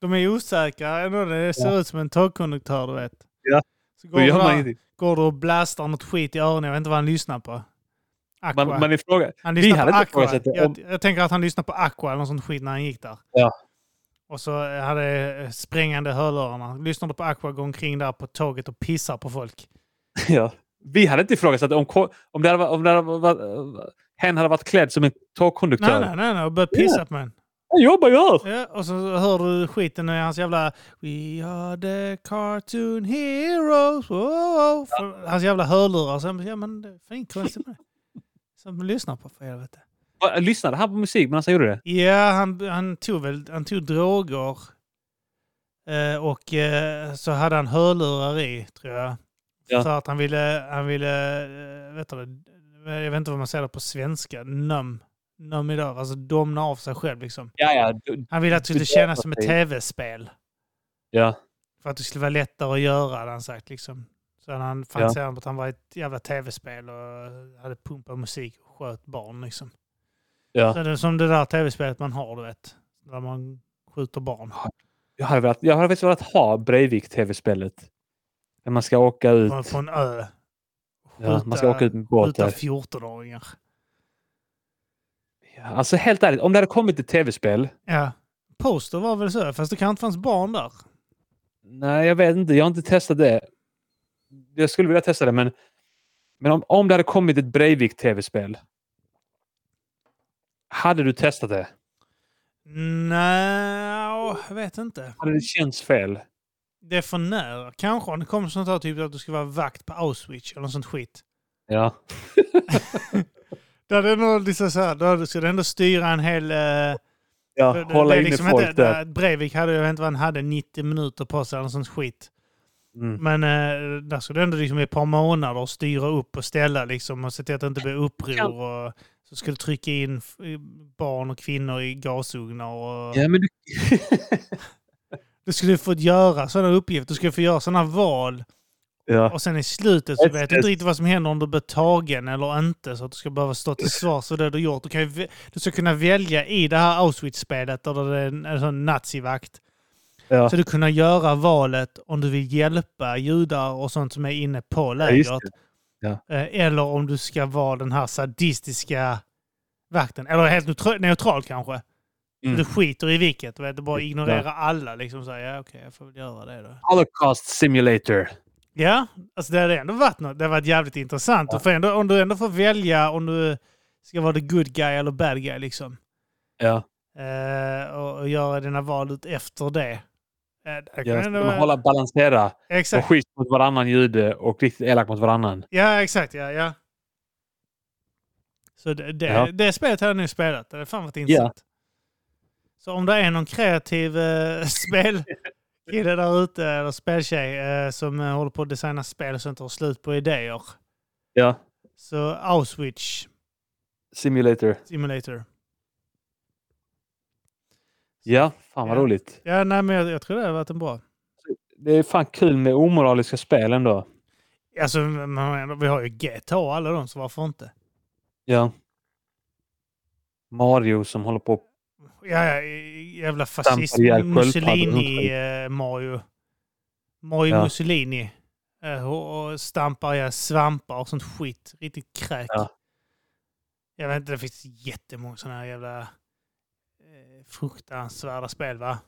S1: de är osäkra. Ändå, Det ser ut som en tågkonduktör, du vet.
S2: Ja.
S1: Så går
S2: Då
S1: du
S2: gör man
S1: där-
S2: ingenting.
S1: går du och blastar något skit i öronen. Jag vet inte vad han lyssnar på. Aqua.
S2: Man, man ifråga,
S1: han
S2: vi
S1: lyssnar
S2: hade
S1: på
S2: inte
S1: Aqua.
S2: ifrågasatt det om-
S1: Jag, jag tänker att han lyssnar på Aqua eller något sånt skit när han gick där.
S2: Ja.
S1: Och så hade eh, sprängande hörlurar. Lyssnade på Aqua, går omkring där på tåget och pissar på folk.
S2: Ja. Vi hade inte ifrågasatt om, ko- om, det hade, va- om det hade, va- hen hade varit klädd som en
S1: Nej,
S2: tågkonduktör.
S1: nej, nej, nej. Och började pissa på en.
S2: Jag jobbar ju här!
S1: Ja, och så hör du skiten i hans jävla We are the cartoon heroes. Wow. För- Hans jävla hörlurar. Så, ja, men det är fan inget konstigt med det. Som lyssnar på för helvete.
S2: Va, Lyssnade han på musik medan han gjorde det?
S1: Ja, han, han tog väl han tog droger. Eh, och eh, så hade han hörlurar i, tror jag.
S2: Ja.
S1: Så att han ville, han ville eh, vet du, det, jag vet inte vad man säger det på svenska, num. Num idag, alltså domna av sig själv liksom.
S2: Ja, ja. du-
S1: Han ville att det skulle kännas som ett tv-spel.
S2: ja.
S1: För att det skulle vara lättare att göra, hade han sagt. Liksom. Så hade han fantiserade på att han var ett jävla tv-spel och hade pumpat musik och sköt barn. Liksom.
S2: Ja.
S1: Så det är som det där tv-spelet man har, du vet. Där man skjuter barn.
S2: Jag hade, velat, jag hade faktiskt velat ha Breivik-tv-spelet. När man ska åka ut.
S1: På, på en ö.
S2: Ja, man ska åka ut med båtar.
S1: skjuta 14-åringar.
S2: Alltså helt ärligt, om det hade kommit ett tv-spel
S1: Ja. Poster var väl så, fast det kanske inte fanns barn där.
S2: Nej, jag vet inte. Jag har inte testat det. Jag skulle vilja testa det, men, men om, om det hade kommit ett Breivik-tv-spel. Hade du testat det?
S1: Nej, jag vet inte.
S2: Hade det känts fel?
S1: Det är för nära. Kanske om det kommer sånt här typ att du ska vara vakt på Auschwitz eller något sånt skit.
S2: Ja.
S1: Då hade det nog liksom så här, då ska du ändå styra en hel... Eh,
S2: ja
S1: Det- det-
S2: Ah, hålla
S1: det är
S2: inne
S1: liksom
S2: folk
S1: inte-
S2: där.
S1: det- Breivik hade, jag vet inte vad han hade, 90 minuter på sig eller något sånt skit.
S2: Mm.
S1: Men eh, där skulle det ändå liksom i ett par månader styra upp och ställa liksom och se till att det inte blir uppror. Och, så skulle trycka in f- barn och kvinnor i gasugnar. Och,
S2: Ja, men du...
S1: Du skulle få göra sådana uppgifter, du skulle få göra sådana val.
S2: ja.
S1: Och sen i slutet så
S2: Ett-
S1: vet du
S2: ett-
S1: inte riktigt vad som händer om du blir tagen eller inte. Så att du ska behöva stå till svars för det du gjort. Du, kan ju, vä- du ska kunna välja i det här Auschwitz-spelet, där det är en, en sån nazivakt.
S2: Ja.
S1: Så du kunna göra valet om du vill hjälpa judar och sånt som är inne på
S2: Ja, just
S1: lägret.
S2: det. Ja.
S1: Eh, Eller om du ska vara den här sadistiska vakten. Eller helt neutral, neutral kanske.
S2: Mm.
S1: Du skiter i vilket. Vet? Du bara ignorerar
S2: Ja.
S1: alla. Liksom så här, ja, okej, jag får väl göra det då.
S2: Holocaust simulator.
S1: Ja, alltså det hade ändå varit något. Det hade varit jävligt intressant.
S2: Ja.
S1: Och för ändå, om du ändå får välja om du ska vara the good guy eller bad guy liksom.
S2: Ja.
S1: Eh, och, och göra dina val ut efter det. Eh, det kan
S2: ja.
S1: ändå
S2: ska man
S1: vara-
S2: hålla balansera.
S1: Exakt.
S2: Och schysst mot varannan jude och riktigt elak mot varannan.
S1: Ja, exakt. Ja, ja. Så det, det,
S2: Ja.
S1: det spelet har jag nu spelat. Det hade fan varit intressant. Så om det är någon kreativ eh, spelkille där ute, eller speltjej, eh, som eh, håller på att designa spel och inte har slut på idéer.
S2: Ja.
S1: Så Auschwitz
S2: Simulator.
S1: Simulator.
S2: Ja, fan vad
S1: Ja.
S2: roligt.
S1: Ja, nej, men jag, jag tror det har varit en bra.
S2: Det är fan kul med omoraliska spel ändå.
S1: Alltså, man, vi har ju GTA och alla de, så varför inte?
S2: Ja. Mario som håller på
S1: Ja, ja, jävla fascist.
S2: Stampar ihjäl sköldpaddor runt
S1: Mussolini, eh, Mario. Mario
S2: Ja.
S1: Mussolini. Eh, och och stampar ihjäl svampar och sånt skit. Riktigt kräk.
S2: Ja.
S1: Jag vet inte, det finns jättemånga sådana här jävla eh, fruktansvärda spel, va?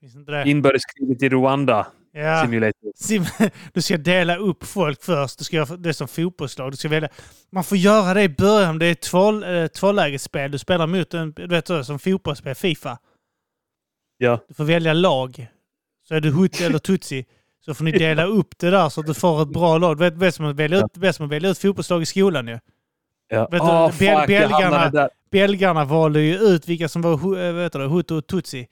S1: Finns inte det?
S2: inbördeskriget i Rwanda.
S1: Ja.
S2: Simulator.
S1: Sim, du ska dela upp folk först. Du ska göra det är som fotbollslag. Du ska välja. Man får göra det i början. om Det är ett tvål- eh, tvålägesspel. Du spelar mot en, du vet så, som fotbollsspel, Fifa.
S2: Ja.
S1: Du får välja lag. Så är du Hutti eller Tutsi. Så får ni dela upp det där så att du får ett bra lag. Du vet, det är som att välja ut, det är som att välja ut fotbollslag i skolan ju.
S2: Ja.
S1: du,
S2: Ah,
S1: Bel-
S2: fuck, jag
S1: belgarna-
S2: hamnade där.
S1: Belgarna valde ju ut vilka som var hu- eh, vet du, Hutu och Tutsi.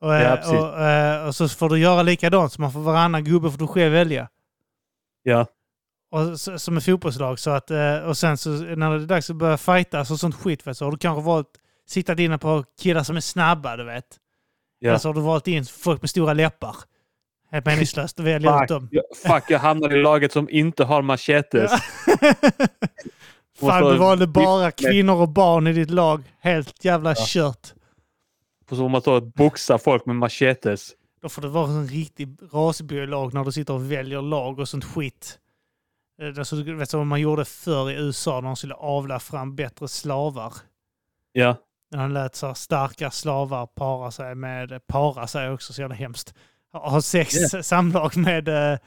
S1: Och, eh,
S2: Ja, precis.
S1: och, eh, och så får du göra likadant. Så man får varannan gubbe får du själv välja.
S2: Ja.
S1: och, s- som ett fotbollslag. Så att, eh, och sen så, när det är dags att börja fightas och sånt skit, vet, du, så har du kanske valt siktat in på killar som är snabba, du vet.
S2: Ja.
S1: Eller så har du valt in folk med stora läppar. Helt meningslöst att välja ut
S2: Fuck,
S1: dem.
S2: jag, fuck, jag hamnade i laget som inte har machetes.
S1: Ja. Fan, du valde bara kvinnor och barn i ditt lag. Helt jävla kört.
S2: Och så får man stå och boxa folk med machetes.
S1: Då får det vara en riktig rasbiolog när du sitter och väljer lag och sånt skit. Eh, det är så- du vet som man gjorde förr i USA när de skulle avla fram bättre slavar.
S2: Ja.
S1: När han lät så här starka slavar para sig med, para sig också så jävla hemskt. Ha ha sex samlag med eh,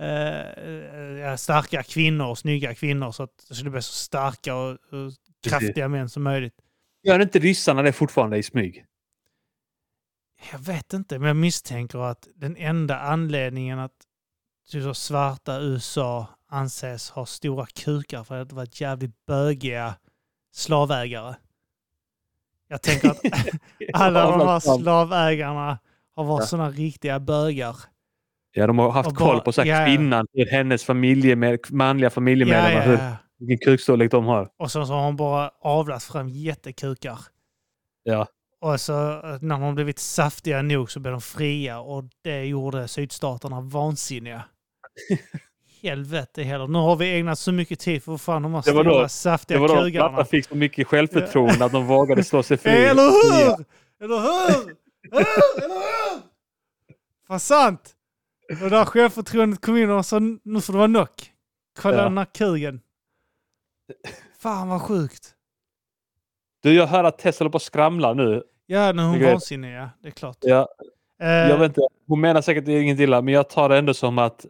S1: eh, eh, ja, starka kvinnor, snygga kvinnor så att det skulle bli så starka och, och kraftiga män som möjligt.
S2: Gör inte ryssarna det fortfarande i smyg?
S1: Jag vet inte, men jag misstänker att den enda anledningen att typ så svarta USA anses ha stora kukar för att det var ett jävligt bögiga slavägare. Jag tänker att alla de här slavägarna har varit
S2: Ja.
S1: sådana riktiga bögar.
S2: Ja, de har haft
S1: Och bara-
S2: koll på så här,
S1: ja, ja.
S2: kvinnan, hur hennes familjemed, manliga
S1: Ja,
S2: familjemedlemmar,
S1: ja,
S2: hur-
S1: ja.
S2: vilken kukstorlek de har.
S1: Och sen så har hon bara avlat fram jättekukar.
S2: Ja.
S1: Och så eh, när de har blivit saftiga nog så blev de fria och det gjorde sydstaterna vansinniga. Helvete heller. Nu har vi ägnat så mycket tid för fan de här
S2: Det var då-
S1: stora
S2: Det
S1: saftiga
S2: var då de
S1: kugarna.
S2: platta fick så mycket självförtroende att de vågade slå sig fri.
S1: Eller hur? Eller hur? Eller hur? Eller hur? Vad sant! Och där självförtroendet kom in och sa nu får det vara nock. Kolla
S2: Ja.
S1: den här kugen. Fan vad sjukt.
S2: Du, jag hör att Tess håller på att skramla nu.
S1: Ja, när hon
S2: Vilket-
S1: var vansinnig, ja. Det är klart.
S2: Ja,
S1: Eh,
S2: jag vet inte. Hon menar säkert inget illa, men jag tar det ändå som att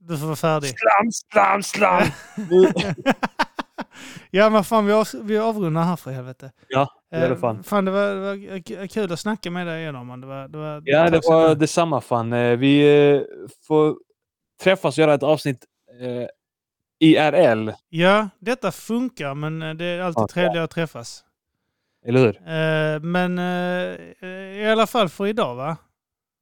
S1: Du får vara färdig.
S2: slam, slam, slam. Nu-
S1: ja, men fan vi, av, vi avrundar här för helvete.
S2: ja, det är det
S1: Eh,
S2: fan.
S1: det, var, det var k- kul att snacka med dig igen Arman. Det var, det var,
S2: Ja, det
S1: tack så
S2: var
S1: mycket.
S2: detsamma fan. Eh, Vi eh, får träffas och göra ett avsnitt eh, IRL,
S1: Ja, detta funkar men eh, det är alltid
S2: Ja.
S1: trevligare att träffas.
S2: eller hur?
S1: Eh, men eh, i alla fall för idag va?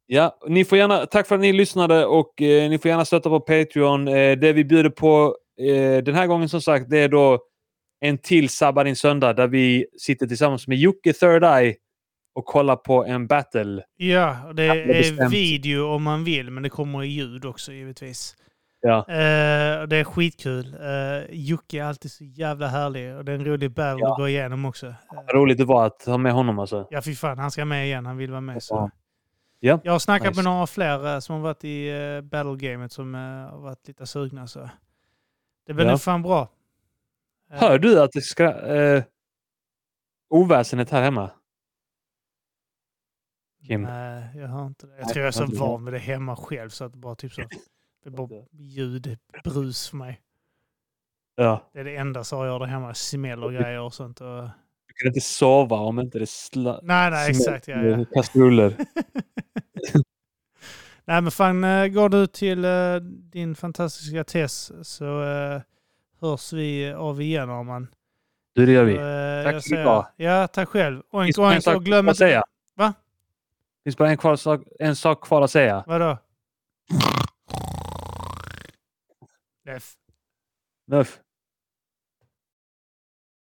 S2: Ja, ni får gärna, tack för att ni lyssnade och eh, ni får gärna stötta på Patreon. Eh, det vi bjuder på eh, den här gången som sagt, det är då en till Sabbar din söndag där vi sitter tillsammans med Jocke Third Eye och kollar på en battle.
S1: Ja, och det
S2: Ja, det är
S1: är
S2: bestämt.
S1: video om man vill men det kommer i ljud också givetvis.
S2: Ja.
S1: Eh, och det är skitkul. Eh, Jocke är alltid så jävla härlig och det är en rolig battle
S2: Ja.
S1: att gå igenom också. Eh,
S2: Vad roligt det var att ha med honom alltså.
S1: Ja, fy fan. Han ska med igen. Han vill vara med. Så.
S2: Ja. Ja,
S1: Jag har snackat
S2: nice.
S1: med några fler eh, som har varit i eh, battlegamet som eh, har varit lite sugna. Så. Det blir
S2: Ja.
S1: nog fan bra. Eh,
S2: Hör du att det ska... Eh, oväsendet här hemma? Kim?
S1: Nej, Eh, jag hör inte det. Jag
S2: Nej,
S1: tror jag är så
S2: hör du det?
S1: van vid det hemma själv så att det bara typ så. Det är bara ljud, brus för mig.
S2: Ja.
S1: Det är det enda som jag gör där hemma. Smäll och grejer och sånt. Och...
S2: Du kan inte sova om inte det sla...
S1: Nej, nej, exakt. Ja, ja.
S2: smäller Kastruller.
S1: Nej men fan, eh, går du till eh, din fantastiska Tess så eh, hörs vi av igen Arman.
S2: Du, det gör vi.
S1: Så, eh,
S2: Tack
S1: jag
S2: för
S1: säger-
S2: idag.
S1: Ja, tack själv. Oink,
S2: Finns bara en
S1: oink
S2: sak
S1: och glöm
S2: kvar att
S1: inte...
S2: säga.
S1: Va?
S2: Finns bara en, kvar, sak, en sak kvar att säga.
S1: Vadå? Leff.
S2: Nuff.